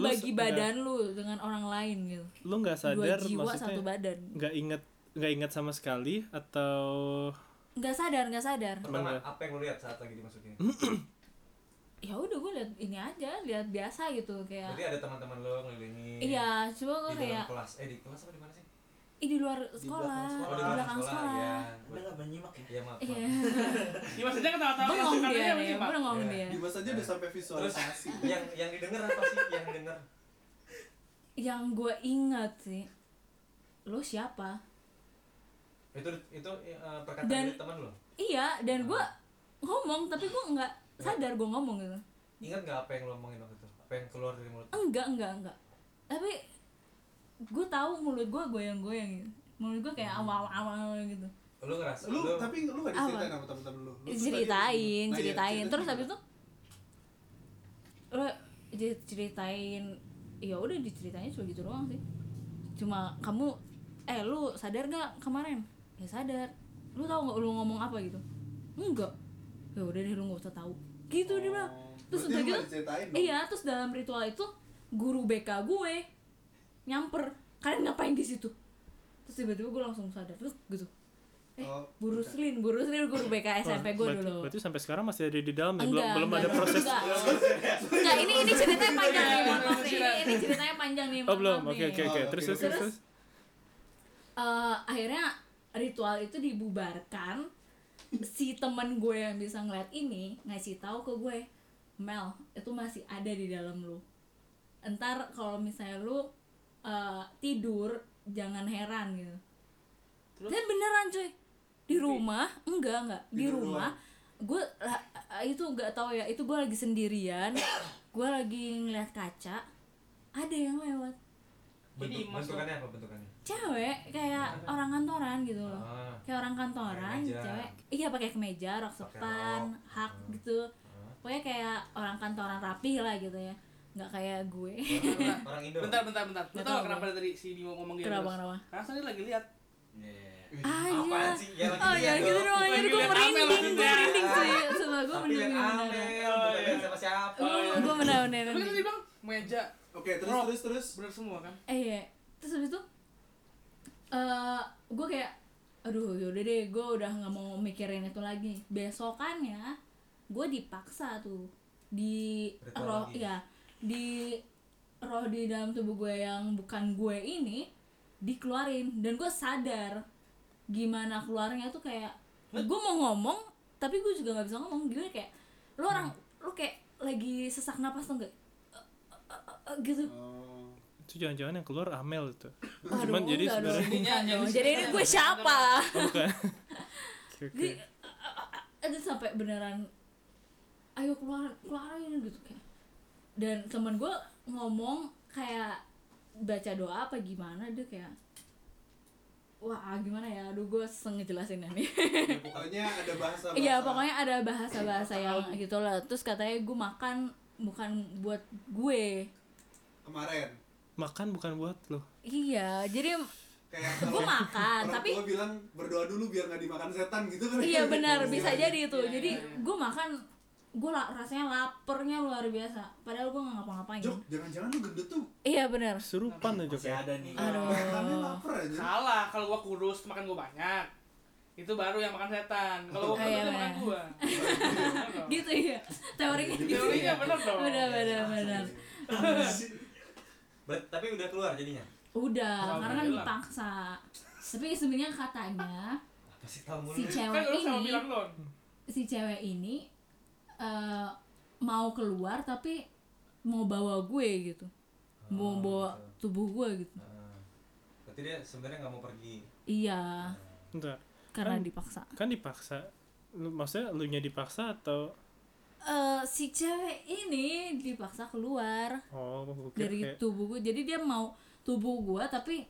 [SPEAKER 1] Lu
[SPEAKER 5] membagi
[SPEAKER 1] se-
[SPEAKER 5] badan lu dengan orang lain gitu
[SPEAKER 1] Lu nggak
[SPEAKER 5] dua
[SPEAKER 1] sadar
[SPEAKER 5] jiwa satu
[SPEAKER 1] maksudnya
[SPEAKER 5] badan
[SPEAKER 1] nggak inget nggak ingat sama sekali atau
[SPEAKER 5] nggak sadar nggak sadar
[SPEAKER 4] pertama
[SPEAKER 1] Bener.
[SPEAKER 4] apa yang lu lihat saat lagi dimasukin
[SPEAKER 5] ya udah gue lihat ini aja lihat biasa gitu kayak
[SPEAKER 4] berarti ada teman-teman lu ngelilingi
[SPEAKER 5] iya cuma
[SPEAKER 4] di
[SPEAKER 5] gue
[SPEAKER 4] dalam
[SPEAKER 5] kayak
[SPEAKER 4] kelas eh di kelas apa di mana sih
[SPEAKER 5] ih di luar sekolah
[SPEAKER 4] Oh,
[SPEAKER 5] di belakang sekolah
[SPEAKER 4] ya
[SPEAKER 6] Udah nggak menyimak ya.
[SPEAKER 4] iya maaf
[SPEAKER 5] iya
[SPEAKER 4] maaf.
[SPEAKER 2] Dimas aja ketawa-tawa
[SPEAKER 5] bengong
[SPEAKER 2] kerasukannya
[SPEAKER 5] dia ya,
[SPEAKER 2] apa sih,
[SPEAKER 5] nih
[SPEAKER 2] Pak?
[SPEAKER 5] bengong
[SPEAKER 4] Iya.
[SPEAKER 5] dia
[SPEAKER 3] Dimas aja udah sampai
[SPEAKER 4] terus
[SPEAKER 3] visualisasi
[SPEAKER 4] yang yang didengar apa sih yang didengar
[SPEAKER 5] yang gue ingat sih lo siapa
[SPEAKER 4] itu itu eh, perkataan
[SPEAKER 5] Dan-
[SPEAKER 4] dari teman lo
[SPEAKER 5] iya dan gue ngomong tapi gue nggak sadar gue ngomong gitu
[SPEAKER 4] ingat nggak apa yang lo omongin waktu itu apa yang keluar dari mulut
[SPEAKER 5] enggak enggak enggak tapi gue tahu mulut gue goyang-goyang gitu mulut gue kayak awal-awal gitu
[SPEAKER 4] lo ngerasa
[SPEAKER 3] lu tapi lu gak diceritain
[SPEAKER 5] Apa?
[SPEAKER 3] sama temen-temen lu Lu terus
[SPEAKER 5] ceritain
[SPEAKER 3] tadi- Nah, iya,
[SPEAKER 5] ceritain terus
[SPEAKER 3] ceritain.
[SPEAKER 5] habis itu lo jadi ceritain ya udah diceritanya cuma gitu doang sih cuma kamu eh lu sadar nggak kemarin ya sadar lu tahu nggak lu ngomong apa gitu enggak ya udah deh lu nggak usah tahu gitu dia bilang terus
[SPEAKER 3] Oh,
[SPEAKER 5] udah
[SPEAKER 3] Berarti lu
[SPEAKER 5] gitu
[SPEAKER 3] gak diceritain dong?
[SPEAKER 5] iya terus dalam ritual itu guru BK gue nyamper kalian ngapain di situ terus tiba-tiba gue langsung sadar "Loh," gitu eh
[SPEAKER 3] Oh,
[SPEAKER 5] Burus Lin, Burus Lin guru BK SMP gue
[SPEAKER 1] berarti,
[SPEAKER 5] dulu.
[SPEAKER 1] berarti sampai sekarang masih ada di dalam ya? Belum
[SPEAKER 5] Enggak,
[SPEAKER 1] belum
[SPEAKER 5] enggak,
[SPEAKER 1] ada proses. Oh,
[SPEAKER 5] Enggak, Enggak, ini ini ceritanya panjang nih, mohon maaf nih.
[SPEAKER 2] Iya,
[SPEAKER 5] Ini, ini ceritanya panjang nih.
[SPEAKER 1] Oh
[SPEAKER 5] mohon
[SPEAKER 1] belum.
[SPEAKER 5] maaf
[SPEAKER 1] Oke
[SPEAKER 5] nih.
[SPEAKER 1] oke
[SPEAKER 3] Oh,
[SPEAKER 1] oke.
[SPEAKER 3] oke,
[SPEAKER 1] Terus
[SPEAKER 3] oke.
[SPEAKER 1] terus terus. terus.
[SPEAKER 5] Eh, akhirnya ritual itu dibubarkan. Si teman gue yang bisa ngeliat ini ngasih tahu ke gue, Mel, itu masih ada di dalam lu. Entar kalau misalnya lu eh, tidur jangan heran gitu.
[SPEAKER 2] Terus?
[SPEAKER 5] Dan beneran cuy di rumah enggak enggak di
[SPEAKER 3] Tidur
[SPEAKER 5] rumah gue itu nggak tahu ya itu gue lagi sendirian gue lagi ngeliat kaca ada yang lewat
[SPEAKER 4] bentuk,
[SPEAKER 2] Ini Mas,
[SPEAKER 4] bentukannya apa bentukannya
[SPEAKER 5] cewek kayak orang kantoran gitu loh
[SPEAKER 4] Ah.
[SPEAKER 5] kayak orang kantoran
[SPEAKER 4] Pakai kemeja.
[SPEAKER 5] cewek iya pakai kemeja rok
[SPEAKER 4] Pakai
[SPEAKER 5] sepan
[SPEAKER 4] rok.
[SPEAKER 5] hak
[SPEAKER 4] Hmm.
[SPEAKER 5] gitu
[SPEAKER 4] Ah.
[SPEAKER 5] pokoknya kayak orang kantoran rapi lah gitu ya nggak kayak gue
[SPEAKER 4] orang, orang Indo
[SPEAKER 2] Bentar, bentar, bentar. Lu
[SPEAKER 5] Nggak
[SPEAKER 2] tahu
[SPEAKER 5] tahu.
[SPEAKER 2] kenapa dari si Bimo ngomong gitu?
[SPEAKER 5] kenapa kenapa
[SPEAKER 2] Karena saya lagi lihat.
[SPEAKER 4] Iya.
[SPEAKER 5] ah iya
[SPEAKER 4] apaan sih ya lagi
[SPEAKER 5] oh
[SPEAKER 4] lihat
[SPEAKER 5] jangan gitu
[SPEAKER 4] dong.
[SPEAKER 5] doang
[SPEAKER 2] Lagi
[SPEAKER 5] jadi gue
[SPEAKER 2] lihat Amel,
[SPEAKER 5] merinding gue
[SPEAKER 2] lagi lihat.
[SPEAKER 5] merinding sih sama gue
[SPEAKER 4] tapi lihat
[SPEAKER 5] bener-bener
[SPEAKER 4] Amel bukan siapa siapa
[SPEAKER 5] gue bener-bener
[SPEAKER 2] Tapi kan tadi bang meja
[SPEAKER 3] oke terus
[SPEAKER 2] Rock.
[SPEAKER 3] terus terus
[SPEAKER 2] bener semua kan?
[SPEAKER 5] eh iya. terus habis itu eh gue kayak aduh yaudah deh gue udah nggak mau mikirin itu lagi besokannya gue dipaksa tuh di
[SPEAKER 4] Ritual
[SPEAKER 5] roh
[SPEAKER 4] lagi.
[SPEAKER 5] ya di roh di dalam tubuh gue yang bukan gue ini dikeluarin dan gue sadar gimana keluarnya tuh kayak gue mau ngomong tapi gue juga nggak bisa ngomong gimana kayak lu orang lu kayak lagi sesak napas tuh Eh, enggak gitu
[SPEAKER 3] Oh.
[SPEAKER 1] itu jangan-jangan yang keluar Amel itu
[SPEAKER 5] Aduh,
[SPEAKER 1] cuman jadi
[SPEAKER 5] enggak dong,
[SPEAKER 1] sebenarnya
[SPEAKER 5] enggak
[SPEAKER 2] Jadinya-
[SPEAKER 5] dong.
[SPEAKER 2] jadi
[SPEAKER 5] jadi ini gue
[SPEAKER 2] sebenarnya-
[SPEAKER 5] siapa
[SPEAKER 1] Oh, bukan Oke, oke.
[SPEAKER 5] Jadi, itu sampai beneran ayo keluar keluar aja gitu kayak dan temen gue ngomong kayak baca doa apa gimana dia kayak wah gimana ya aduh gue seneng ngejelasinnya nih
[SPEAKER 3] Ya, pokoknya ada bahasa bahasa.
[SPEAKER 5] Iya pokoknya ada bahasa-bahasa yang gitu lah Terus katanya gue makan bukan buat gue
[SPEAKER 3] kemarin
[SPEAKER 1] makan bukan buat lo
[SPEAKER 5] Iya jadi
[SPEAKER 3] kayak
[SPEAKER 1] ya?
[SPEAKER 5] gue
[SPEAKER 3] kalau
[SPEAKER 5] makan
[SPEAKER 3] orang
[SPEAKER 5] tapi
[SPEAKER 3] tua bilang berdoa dulu biar nggak dimakan setan gitu kan
[SPEAKER 5] Iya benar bisa jadi itu
[SPEAKER 2] Iya, iya,
[SPEAKER 5] Jadi
[SPEAKER 2] iya.
[SPEAKER 5] gue makan gue rasanya lapernya luar biasa Padahal gue gak ngapa-ngapain
[SPEAKER 3] Jok, jangan-jangan lu gendut tuh
[SPEAKER 5] Iya benar
[SPEAKER 1] serupan aja
[SPEAKER 6] masih
[SPEAKER 1] kayak
[SPEAKER 6] ada nih
[SPEAKER 5] Aduh.
[SPEAKER 3] makannya lapar aja
[SPEAKER 2] Salah, kalau gua kurus makan gua banyak. Itu baru yang makan setan. Kalau gua
[SPEAKER 5] Oh,
[SPEAKER 2] kurus
[SPEAKER 5] iya,
[SPEAKER 2] dia makan
[SPEAKER 5] iya.
[SPEAKER 2] gua. Bener dong.
[SPEAKER 5] Gitu iya Teorinya gitu
[SPEAKER 2] Teorinya bener dong.
[SPEAKER 5] Benar
[SPEAKER 2] Iya,
[SPEAKER 5] benar benar
[SPEAKER 4] Ber- tapi udah keluar jadinya
[SPEAKER 5] Udah karena kan
[SPEAKER 2] Alhamdulillah.
[SPEAKER 5] dipaksa Tapi sebenarnya katanya
[SPEAKER 4] apa sih tahu mulu
[SPEAKER 5] si
[SPEAKER 4] nih.
[SPEAKER 2] Kan
[SPEAKER 5] cewek
[SPEAKER 2] lu sama
[SPEAKER 5] ini
[SPEAKER 2] bilang Don.
[SPEAKER 5] si cewek ini eh, mau keluar tapi mau bawa gue gitu
[SPEAKER 4] Oh,
[SPEAKER 5] mau bawa
[SPEAKER 2] iya.
[SPEAKER 4] gitu.
[SPEAKER 5] tubuh gue gitu
[SPEAKER 4] Nah, berarti dia sebenarnya nggak mau pergi
[SPEAKER 5] iya
[SPEAKER 1] Entar.
[SPEAKER 5] karena
[SPEAKER 1] Kan-
[SPEAKER 5] dipaksa
[SPEAKER 1] kan dipaksa lu, maksudnya lu nya dipaksa atau
[SPEAKER 5] Eh, si cewek ini dipaksa keluar
[SPEAKER 1] oh gue kira
[SPEAKER 5] dari
[SPEAKER 1] kayak
[SPEAKER 5] tubuh gue jadi dia mau tubuh gue tapi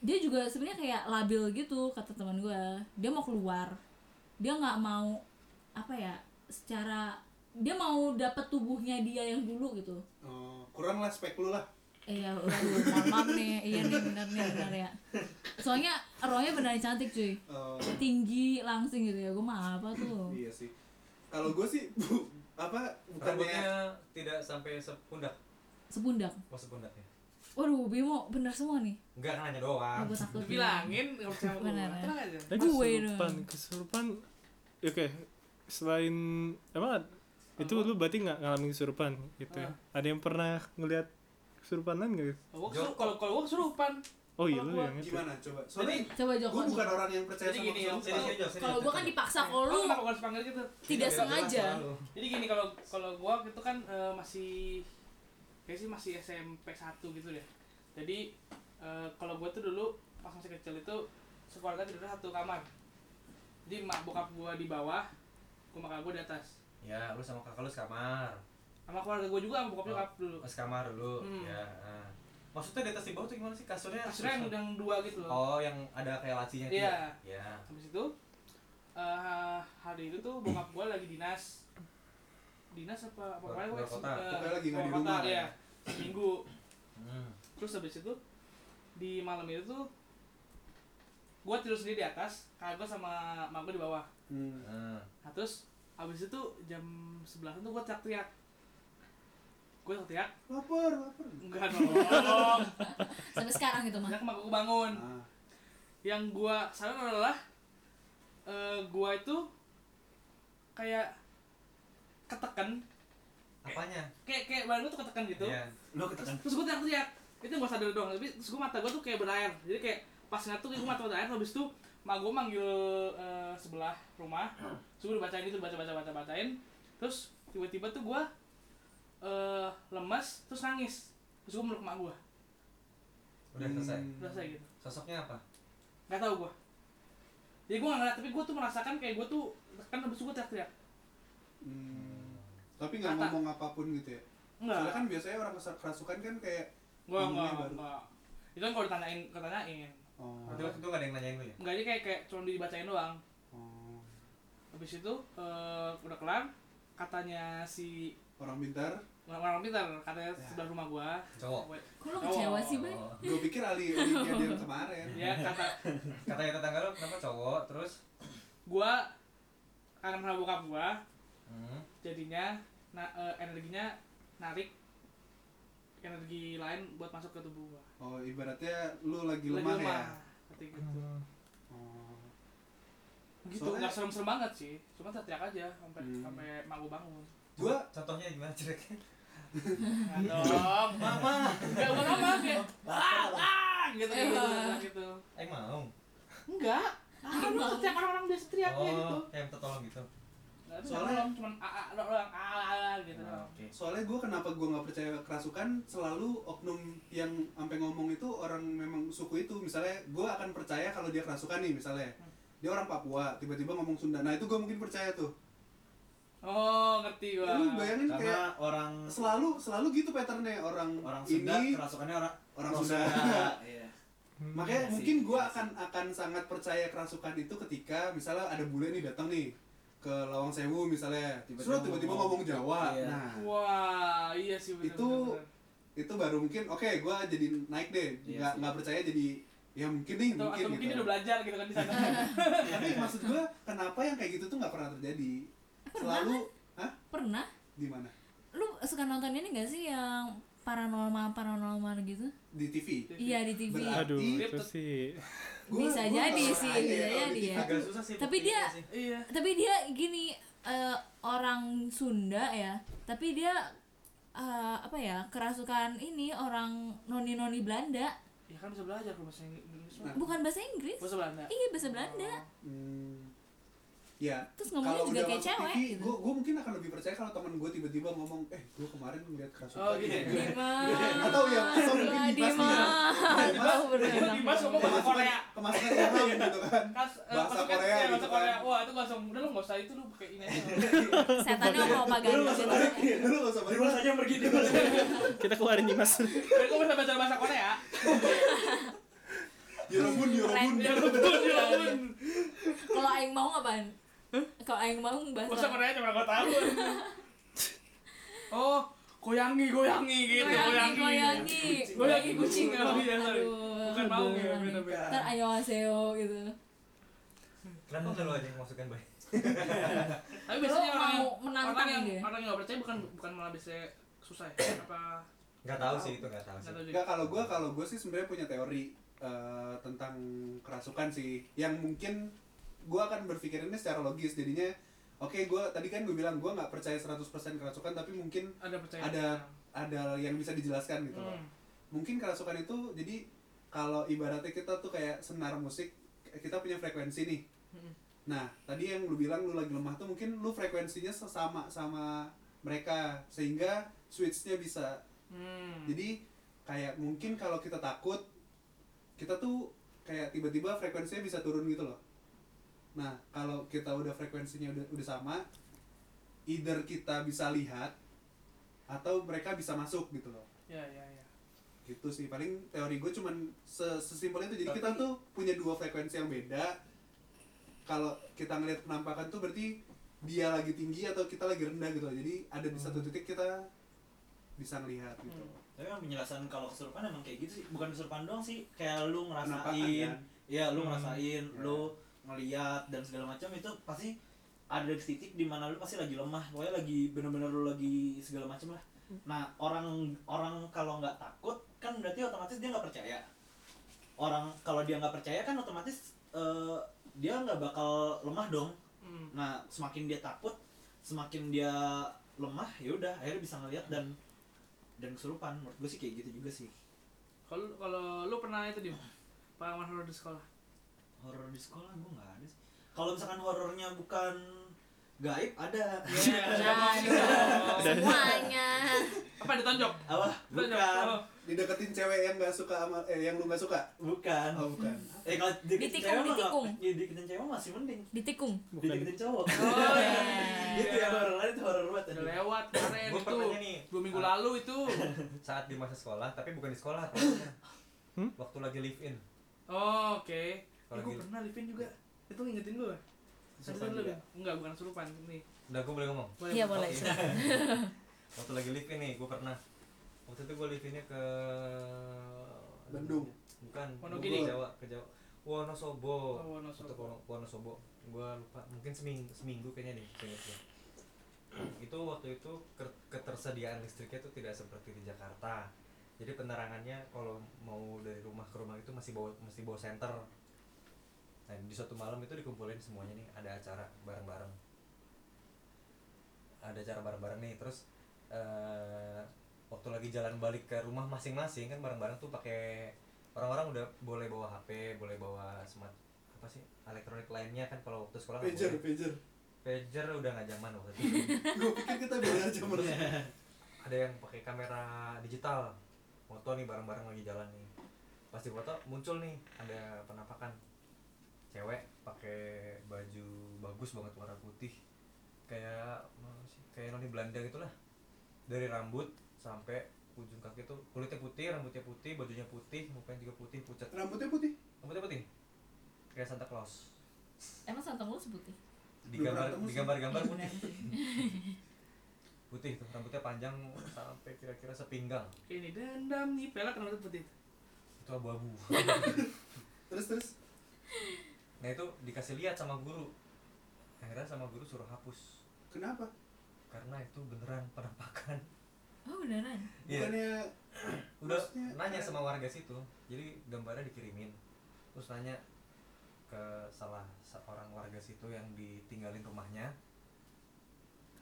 [SPEAKER 5] dia juga sebenarnya kayak labil gitu kata teman gue dia mau keluar dia nggak mau apa ya secara dia mau dapat tubuhnya dia yang dulu gitu
[SPEAKER 3] oh, kurang lah spek lu lah
[SPEAKER 5] Iya, aduh, mohon maaf nih. Iya nih benar nih benar ya. Soalnya rohnya benar cantik cuy.
[SPEAKER 3] Oh,
[SPEAKER 5] Tinggi langsing gitu ya. Gue mah apa tuh?
[SPEAKER 3] iya sih kalau gue sih bu, apa bukannya
[SPEAKER 4] rambutnya tidak sampai sepundak
[SPEAKER 5] Sepundak.
[SPEAKER 4] mau sepundak ya
[SPEAKER 5] Waduh, Bimo benar semua nih.
[SPEAKER 4] enggak kan hanya
[SPEAKER 5] Ah,
[SPEAKER 4] doang
[SPEAKER 5] gue takut.
[SPEAKER 2] Dibilangin enggak percaya sama
[SPEAKER 5] Bener,
[SPEAKER 2] gua.
[SPEAKER 5] bener.
[SPEAKER 2] Tenang aja.
[SPEAKER 1] Tapi
[SPEAKER 5] Gue
[SPEAKER 1] kesurupan
[SPEAKER 5] dong.
[SPEAKER 1] kesurupan Ya, oke selain emang ad- itu
[SPEAKER 2] Apa?
[SPEAKER 1] lu berarti nggak ngalamin kesurupan gitu ya?
[SPEAKER 5] Ah.
[SPEAKER 1] ada yang pernah ngelihat kesurupan lain nggak
[SPEAKER 2] Kalau gua kesurup- kalau kalau gua kesurupan.
[SPEAKER 1] oh iya
[SPEAKER 2] Kalau
[SPEAKER 1] lu
[SPEAKER 2] gua
[SPEAKER 1] yang itu
[SPEAKER 3] gimana coba soalnya
[SPEAKER 5] Coba
[SPEAKER 3] gue
[SPEAKER 5] Joko.
[SPEAKER 3] bukan orang yang percaya
[SPEAKER 2] Jadi
[SPEAKER 3] sama
[SPEAKER 2] gini, yang-
[SPEAKER 3] kesurupan
[SPEAKER 4] serius serius serius. Iya,
[SPEAKER 5] Kalau gue kan dipaksa kalau lu
[SPEAKER 2] Oh, kenapa gua harus panggil gitu?
[SPEAKER 5] tidak sengaja.
[SPEAKER 2] Jadi gini kalau kalau gua itu kan eh, masih kayak sih masih SMP 1 gitu deh. Jadi eh, kalau gua tuh dulu pas masih kecil itu sekeluarga tidur satu kamar. Jadi mak bokap gua di bawah, gua sama kakak gua di atas.
[SPEAKER 4] ya lu sama kakak lu sekamar
[SPEAKER 2] Sama keluarga gua juga sama bokap
[SPEAKER 4] Oh.
[SPEAKER 2] nyokap dulu.
[SPEAKER 4] Mas kamar dulu
[SPEAKER 2] Hmm.
[SPEAKER 4] ya ah. maksudnya di atas di bawah tuh gimana sih kasurnya
[SPEAKER 2] Kasurnya yang yang dua gitu loh.
[SPEAKER 4] oh yang ada kayak lacinya tuh
[SPEAKER 2] Iya.
[SPEAKER 4] ya ya
[SPEAKER 2] Habis itu eh, hari itu tuh bokap gua lagi dinas. Dinas apa apa
[SPEAKER 4] Luar- luar kota.
[SPEAKER 2] eh,
[SPEAKER 3] Pokoknya lagi nggak
[SPEAKER 2] luar
[SPEAKER 3] di
[SPEAKER 2] kota,
[SPEAKER 3] rumah. ya.
[SPEAKER 2] Iya. Seminggu.
[SPEAKER 4] Hmm.
[SPEAKER 2] terus habis itu di malam itu tuh gue tidur sendiri di atas kakak gue sama mak gue di bawah
[SPEAKER 3] Hmm.
[SPEAKER 4] Ah.
[SPEAKER 2] nah terus habis itu jam sebelasan tuh gue teriak-teriak gue teriak
[SPEAKER 3] lapar lapar
[SPEAKER 2] enggak dong
[SPEAKER 5] Sampai sekarang gitu mah.
[SPEAKER 2] teriak mak gue bangun
[SPEAKER 3] nah,
[SPEAKER 2] yang gue sadar adalah eh gue itu kayak ketekan
[SPEAKER 4] apanya
[SPEAKER 2] kayak kayak badan gue tuh ketekan gitu
[SPEAKER 4] Iya.
[SPEAKER 6] lo katakan
[SPEAKER 2] terus gue teriak-teriak itu gue sadar doang tapi terus gue mata gue tuh kayak berair jadi kayak pas ngeliat tuh gue mata berair habis itu mak gue manggil eh, sebelah rumah terus gue dibacain itu baca baca baca bacain terus tiba-tiba tuh gue eh lemas terus nangis terus gue meluk mak gue
[SPEAKER 4] udah selesai
[SPEAKER 3] Hmm.
[SPEAKER 2] merasa gitu
[SPEAKER 4] sosoknya apa
[SPEAKER 2] nggak tahu gue jadi gue nggak ngeliat tapi gue tuh merasakan kayak gue tuh kan habis itu gue teriak-teriak
[SPEAKER 3] Hmm. tapi nggak
[SPEAKER 2] Kata-
[SPEAKER 3] ngomong apapun gitu ya soalnya
[SPEAKER 2] enggak
[SPEAKER 3] kan biasanya orang keser- kerasukan kan kayak
[SPEAKER 2] gue enggak
[SPEAKER 3] ngomongnya baru.
[SPEAKER 2] enggak itu kan kalau ditanyain ditanyain
[SPEAKER 3] oh,
[SPEAKER 4] itu itu gak ada yang nanyain lu ya
[SPEAKER 2] enggak jadi kayak kayak cuma dibacain doang
[SPEAKER 3] oh,
[SPEAKER 2] habis itu eh, udah kelar katanya si
[SPEAKER 3] orang pintar
[SPEAKER 2] orang orang pintar katanya
[SPEAKER 3] Ya.
[SPEAKER 2] sebelah rumah gua
[SPEAKER 4] cowok
[SPEAKER 3] Oh.
[SPEAKER 5] Kok lu kecewa sih, Bay?
[SPEAKER 4] Oh.
[SPEAKER 3] gue pikir Ali Olimpiade yang kemarin
[SPEAKER 2] dia kata
[SPEAKER 4] katanya tetangga lu kenapa cowok terus
[SPEAKER 2] gua karena pernah bokap gua
[SPEAKER 4] Hmm.
[SPEAKER 2] jadinya na- eh, energinya narik energi lain buat masuk ke tubuh gua
[SPEAKER 3] oh ibaratnya lu lagi
[SPEAKER 2] Lebih
[SPEAKER 3] lemah ya
[SPEAKER 2] Kata gitu
[SPEAKER 3] oh,
[SPEAKER 2] gitu
[SPEAKER 3] Soalnya-
[SPEAKER 2] nggak serem-serem banget sih cuma teriak aja sampai
[SPEAKER 3] Hmm.
[SPEAKER 2] sampai mak gua bangun
[SPEAKER 3] Gua
[SPEAKER 4] contohnya gimana ceritanya
[SPEAKER 2] Nggak
[SPEAKER 3] Iya.
[SPEAKER 2] dong mama nggak bukan mama kayak ah ah gitu gitu
[SPEAKER 5] Iya.
[SPEAKER 2] gitu
[SPEAKER 4] eh mau
[SPEAKER 2] enggak ah lu setiap orang orang biasa teriaknya gitu
[SPEAKER 4] oh kayak minta tolong gitu
[SPEAKER 2] Nah, itu
[SPEAKER 3] Soalnya-
[SPEAKER 2] soalnya
[SPEAKER 3] Nah.
[SPEAKER 2] cuma a a doang a a a gitu
[SPEAKER 4] Ah,
[SPEAKER 2] doang
[SPEAKER 4] oke
[SPEAKER 3] soalnya gue kenapa gue nggak percaya kerasukan selalu oknum yang sampai ngomong itu orang memang suku itu misalnya gue akan percaya kalau dia kerasukan nih misalnya dia orang Papua tiba-tiba ngomong Sunda nah itu gue mungkin percaya tuh
[SPEAKER 2] oh ngerti
[SPEAKER 6] Iya,
[SPEAKER 2] gua
[SPEAKER 3] lu bayangin kayak
[SPEAKER 4] karena orang
[SPEAKER 3] selalu selalu gitu patternnya orang,
[SPEAKER 6] orang Sunda
[SPEAKER 3] ini
[SPEAKER 6] kerasukannya orang
[SPEAKER 3] orang
[SPEAKER 6] orang
[SPEAKER 3] Sunda.
[SPEAKER 6] iya
[SPEAKER 3] makanya
[SPEAKER 6] Iya sih,
[SPEAKER 3] mungkin gue
[SPEAKER 6] iya
[SPEAKER 3] akan akan sangat percaya kerasukan itu ketika misalnya ada bule nih datang nih ke Lawang Sewu misalnya
[SPEAKER 6] Tiba-tiba
[SPEAKER 3] terus tiba-tiba ngomong
[SPEAKER 6] ngomong.
[SPEAKER 3] Jawa
[SPEAKER 6] Iya.
[SPEAKER 3] nah
[SPEAKER 2] wah iya sih bener,
[SPEAKER 3] Itu
[SPEAKER 2] bener, bener.
[SPEAKER 3] itu baru mungkin oke gua jadi naik deh
[SPEAKER 6] Iya
[SPEAKER 3] nggak
[SPEAKER 6] sih.
[SPEAKER 3] nggak percaya jadi ya mungkin nih
[SPEAKER 2] atau
[SPEAKER 3] mungkin
[SPEAKER 2] atau mungkin dia
[SPEAKER 3] gitu
[SPEAKER 2] udah belajar gitu kan di sana
[SPEAKER 3] tapi maksud gua kenapa yang kayak gitu tuh nggak pernah terjadi selalu hah
[SPEAKER 5] Pernah?
[SPEAKER 3] di mana
[SPEAKER 5] Lu suka nonton ini gak sih yang paranormal paranormal gitu?
[SPEAKER 3] di TV
[SPEAKER 5] Iya di TV.
[SPEAKER 3] Berarti-
[SPEAKER 1] Aduh,
[SPEAKER 6] Iya,
[SPEAKER 2] Tapi-
[SPEAKER 1] itu sih.
[SPEAKER 5] Bisa jadi
[SPEAKER 3] nggak
[SPEAKER 5] sih, bisa
[SPEAKER 3] percaya kalau
[SPEAKER 5] jadi
[SPEAKER 3] di
[SPEAKER 5] ya.
[SPEAKER 3] TV.
[SPEAKER 4] agak susah sih
[SPEAKER 5] Tapi
[SPEAKER 4] buktinya
[SPEAKER 3] gitu
[SPEAKER 5] dia-
[SPEAKER 4] sih.
[SPEAKER 2] iya
[SPEAKER 5] Tapi dia gini eh, orang Sunda ya. Tapi dia eh, apa ya kerasukan ini orang noni noni Belanda
[SPEAKER 2] ya kan bisa belajar kalau bahasa Inggris
[SPEAKER 3] Nah.
[SPEAKER 2] mah.
[SPEAKER 5] bukan bahasa Inggris
[SPEAKER 2] bahasa Belanda
[SPEAKER 5] iya bahasa Belanda
[SPEAKER 3] Hmm, ya
[SPEAKER 5] terus ngomongnya juga kayak cewek gitu
[SPEAKER 3] gue mungkin akan lebih percaya kalau teman gue tiba-tiba ngomong eh gue kemarin ngeliat kerasukan
[SPEAKER 2] Oh, gitu ya?
[SPEAKER 3] Gitu.
[SPEAKER 5] Dimas
[SPEAKER 3] Atau yang- atau ya, mungkin
[SPEAKER 5] Wah,
[SPEAKER 3] Dimas nih ya.
[SPEAKER 5] Dimas.
[SPEAKER 3] Dimas,
[SPEAKER 5] Tahu bener.
[SPEAKER 2] Dimas, Dimas ngomong Oh. Iya, bahasa
[SPEAKER 3] Kemasukan-
[SPEAKER 2] Korea.
[SPEAKER 3] kemasukan orang gitu kan
[SPEAKER 2] Kas, eh,
[SPEAKER 3] Bahasa
[SPEAKER 2] masuknya-
[SPEAKER 3] Korea
[SPEAKER 2] iya,
[SPEAKER 3] gitu
[SPEAKER 2] bahasa Korea.
[SPEAKER 3] kan.
[SPEAKER 2] Wah, itu gak usah, udah lu gak usah itu lu pakai ini aja.
[SPEAKER 5] setannya
[SPEAKER 3] dulu
[SPEAKER 5] propaganda
[SPEAKER 3] nggak usah
[SPEAKER 5] gitu
[SPEAKER 3] balik dulu nggak usah
[SPEAKER 6] Dimas
[SPEAKER 3] balik
[SPEAKER 6] aja yang pergi Dimas
[SPEAKER 1] Kita keluarin Dimas.
[SPEAKER 2] Tapi gue bisa belajar bahasa Korea.
[SPEAKER 3] Iya, Yorobun, Yorobun.
[SPEAKER 2] Ya betul, ya betul.
[SPEAKER 5] kalau aing mau apaan kalau aing mau
[SPEAKER 2] Bahasa
[SPEAKER 5] bahasa
[SPEAKER 2] Korea cuma 2 tahun. Oh, goyangi, goyangi gitu,
[SPEAKER 5] goyangi
[SPEAKER 2] goyangi.
[SPEAKER 5] goyangi
[SPEAKER 2] Goyangi kucing ya, oh, iya, sorry.
[SPEAKER 5] aduh
[SPEAKER 2] Bukan mau ya,
[SPEAKER 5] beneran nih.
[SPEAKER 2] beda-beda.
[SPEAKER 5] ntar ayo aseo gitu
[SPEAKER 4] kenapa nggak lo aja yang masukkan baik
[SPEAKER 2] Tapi biasanya
[SPEAKER 5] Lu
[SPEAKER 2] orang
[SPEAKER 5] mau
[SPEAKER 2] yang
[SPEAKER 5] menantang
[SPEAKER 2] orang yang
[SPEAKER 5] dia?
[SPEAKER 2] orang yang gak percaya bukan bukan malah biasanya susah ya apa
[SPEAKER 4] nggak tahu sih itu nggak tahu
[SPEAKER 2] nggak
[SPEAKER 4] sih
[SPEAKER 2] tahu juga.
[SPEAKER 3] Enggak kalau gue kalau gue sih sebenarnya punya teori eh, tentang kerasukan sih yang mungkin gue akan berpikirinnya secara logis jadinya oke gue tadi kan gue bilang gue nggak percaya 100% kerasukan tapi mungkin
[SPEAKER 2] Ada percaya.
[SPEAKER 3] ada ada yang bisa dijelaskan gitu loh.
[SPEAKER 2] Hmm.
[SPEAKER 3] mungkin kerasukan itu jadi kalau ibaratnya kita tuh kayak senar musik kita punya frekuensi nih
[SPEAKER 2] Mm-mm.
[SPEAKER 3] nah tadi yang lu bilang lu lagi lemah tuh mungkin lu frekuensinya sesama sama mereka sehingga switchnya bisa
[SPEAKER 2] Hmm.
[SPEAKER 3] jadi kayak mungkin kalau kita takut kita tuh kayak tiba-tiba frekuensinya bisa turun gitu loh nah kalau kita udah frekuensinya udah udah sama either kita bisa lihat atau mereka bisa masuk gitu loh
[SPEAKER 2] Ya, ya, ya.
[SPEAKER 3] gitu sih paling teori gue cuman se- sesimpel itu jadi
[SPEAKER 4] Tapi-
[SPEAKER 3] kita tuh punya dua frekuensi yang beda kalau kita ngeliat penampakan tuh berarti dia lagi tinggi atau kita lagi rendah gitu loh jadi ada di satu titik kita bisa ngelihat gitu
[SPEAKER 2] Hmm.
[SPEAKER 6] tapi yang penjelasan kalau kesurupan emang kayak gitu sih bukan kesurupan doang sih kayak lu
[SPEAKER 3] Penampakan, kan.
[SPEAKER 6] ngerasain ya lu ngerasain
[SPEAKER 3] Ya.
[SPEAKER 6] lu ngeliat dan segala macam itu pasti ada di titik di mana lu pasti lagi lemah pokoknya lagi bener-bener lu lagi segala macam lah nah orang orang kalau nggak takut kan berarti otomatis dia nggak percaya orang kalau dia nggak percaya kan otomatis eh, dia nggak bakal lemah dong
[SPEAKER 2] Hmm.
[SPEAKER 6] Nah, semakin dia takut, semakin dia lemah, ya udah akhirnya bisa ngelihat dan dan kesurupan. Menurut gue sih kayak gitu juga sih.
[SPEAKER 2] Kalau kalau lu pernah itu di pengalaman horor di sekolah?
[SPEAKER 6] Horor di sekolah gue nggak ada sih. Kalau misalkan horornya bukan gaib ada.
[SPEAKER 5] Nah, ini Iya. semuanya
[SPEAKER 2] Iya. Apa ditonjok?
[SPEAKER 6] Apa? Bukan.
[SPEAKER 2] Oh,
[SPEAKER 3] dideketin cewek yang nggak suka sama eh yang lu nggak suka
[SPEAKER 6] Bukan.
[SPEAKER 3] oh bukan
[SPEAKER 6] Eh kalau
[SPEAKER 5] Ditikung,
[SPEAKER 6] dikitin cewek mah nggak-
[SPEAKER 5] ditikung.
[SPEAKER 6] ya, dikitin cewek mah masih mending.
[SPEAKER 5] ditikung
[SPEAKER 1] Bukan.
[SPEAKER 6] Dikitin cowok.
[SPEAKER 2] Oh, iya.
[SPEAKER 6] gitu ya horor lain itu horor banget.
[SPEAKER 2] Udah lewat kemarin
[SPEAKER 4] Gua
[SPEAKER 2] itu.
[SPEAKER 4] pernahnya nih.
[SPEAKER 2] Dua minggu
[SPEAKER 4] Ah.
[SPEAKER 2] lalu itu.
[SPEAKER 4] saat di masa sekolah tapi bukan di sekolah pokoknya.
[SPEAKER 1] Hmm?
[SPEAKER 4] waktu lagi live in
[SPEAKER 2] Oh, oke.
[SPEAKER 4] Kalau
[SPEAKER 2] Ih, gua
[SPEAKER 4] gitu.
[SPEAKER 2] pernah Livin juga. Itu ngingetin gua. Kesurupan
[SPEAKER 4] Kesurupan
[SPEAKER 2] lu
[SPEAKER 4] juga.
[SPEAKER 2] Vin? Enggak, bukan kesurupan nih.
[SPEAKER 4] udah gue boleh ngomong
[SPEAKER 2] Boleh,
[SPEAKER 5] iya
[SPEAKER 2] boleh.
[SPEAKER 5] boleh
[SPEAKER 4] Oke. waktu lagi live in nih gue pernah waktu itu gue live innya ke
[SPEAKER 3] Bandung.
[SPEAKER 4] bukan
[SPEAKER 2] Wonogiri.
[SPEAKER 4] ke Jawa ke Jawa Wonosobo
[SPEAKER 2] Oh, Wonosobo.
[SPEAKER 4] Waktu ke Wono- Wonosobo gue lupa mungkin seminggu seminggu kayaknya deh seingat gua. itu waktu itu ker- ketersediaan listriknya itu tidak seperti di Jakarta jadi penerangannya kalau mau dari rumah ke rumah itu masih bawa masih bawa senter nah di suatu malam itu dikumpulin semuanya nih ada acara bareng-bareng ada acara bareng-bareng nih terus eh, waktu lagi jalan balik ke rumah masing-masing kan bareng-bareng tuh pakai orang-orang udah boleh bawa HP boleh bawa smart apa sih elektronik lainnya kan kalau waktu sekolah nggak
[SPEAKER 3] pager
[SPEAKER 4] boleh.
[SPEAKER 3] pager
[SPEAKER 4] pager udah nggak zaman waktu itu
[SPEAKER 3] gue pikir kita beda zaman
[SPEAKER 4] ada yang pakai kamera digital foto nih bareng-bareng lagi jalan nih pasti foto muncul nih ada penampakan cewek pakai baju bagus banget warna putih kayak apa sih, kayak noni Belanda gitulah dari rambut sampai ujung kaki tuh kulitnya putih rambutnya putih bajunya putih mukanya juga putih pucat
[SPEAKER 3] rambutnya putih
[SPEAKER 4] rambutnya putih kayak Santa Claus
[SPEAKER 5] Emang santan lu sebutin?
[SPEAKER 4] digambar
[SPEAKER 3] Belum ketemu sih.
[SPEAKER 4] digambar-gambar
[SPEAKER 5] Iya,
[SPEAKER 4] putih
[SPEAKER 5] benar.
[SPEAKER 4] putih tuh rambutnya panjang sampai kira-kira sepinggang
[SPEAKER 2] ini dendam nih pelak kenapa tuh putih
[SPEAKER 4] itu abu-abu
[SPEAKER 3] terus terus
[SPEAKER 4] Nah itu dikasih lihat sama guru. Akhirnya sama guru suruh hapus
[SPEAKER 3] kenapa
[SPEAKER 4] karena itu beneran penampakan.
[SPEAKER 5] Oh beneran?
[SPEAKER 4] Iya.
[SPEAKER 3] bukannya
[SPEAKER 4] Udah
[SPEAKER 3] maksudnya-
[SPEAKER 4] nanya sama warga situ. Jadi gambarnya dikirimin. Terus nanya ke salah seorang warga situ yang ditinggalin rumahnya.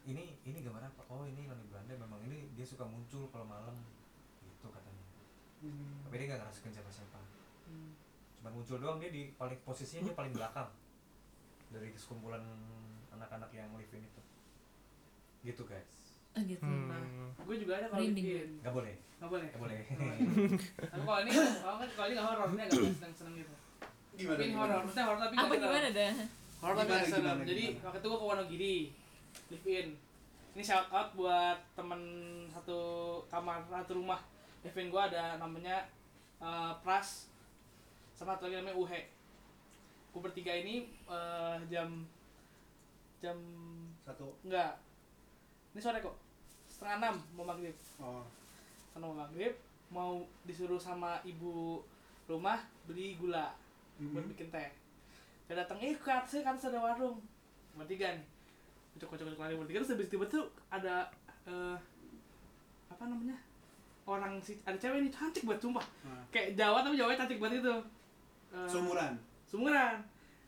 [SPEAKER 4] Ini ini gambar apa? Oh ini noni Belanda memang ini dia suka muncul kalau malam gitu katanya.
[SPEAKER 3] Hmm.
[SPEAKER 4] Tapi dia nggak ngerasukin siapa-siapa.
[SPEAKER 5] Hmm.
[SPEAKER 4] cuma muncul doang dia di paling posisinya dia
[SPEAKER 1] Hmm?
[SPEAKER 4] paling belakang dari sekumpulan anak-anak yang live in itu gitu guys
[SPEAKER 5] Oh gitu.
[SPEAKER 1] Hmm.
[SPEAKER 2] gue juga ada kalau
[SPEAKER 5] Merinding
[SPEAKER 2] bikin
[SPEAKER 4] nggak boleh
[SPEAKER 2] nggak boleh
[SPEAKER 4] nggak boleh
[SPEAKER 2] tapi kalau ini kalau kan kalau ini nggak horor ini agak seneng seneng gitu
[SPEAKER 3] gimana
[SPEAKER 2] tapi ini horor maksudnya horor tapi
[SPEAKER 5] Apa
[SPEAKER 2] nggak serem.
[SPEAKER 5] gimana dah?
[SPEAKER 2] horor tapi
[SPEAKER 3] Gimana,
[SPEAKER 2] nggak serem
[SPEAKER 3] gimana,
[SPEAKER 2] jadi
[SPEAKER 3] gimana?
[SPEAKER 2] waktu itu gue ke Wonogiri live in ini shout out buat temen satu kamar satu rumah live in gue ada namanya eh, Pras sama satu lagi namanya Uhe gue bertiga ini eh, jam jam
[SPEAKER 3] satu
[SPEAKER 2] enggak ini sore kok setengah enam mau maghrib
[SPEAKER 3] oh
[SPEAKER 2] karena mau maghrib mau disuruh sama ibu rumah beli gula buat
[SPEAKER 3] Mhm.
[SPEAKER 2] bikin teh dia datang eh ke atas kan ada warung bertiga nih kocok kocok kocok lari bertiga terus habis tiba tuh ada eh, apa namanya orang si ada cewek ini cantik banget sumpah
[SPEAKER 3] Nah.
[SPEAKER 2] kayak Jawa tapi Jawa cantik banget itu Eh,
[SPEAKER 3] Ah. seumuran
[SPEAKER 2] sumuran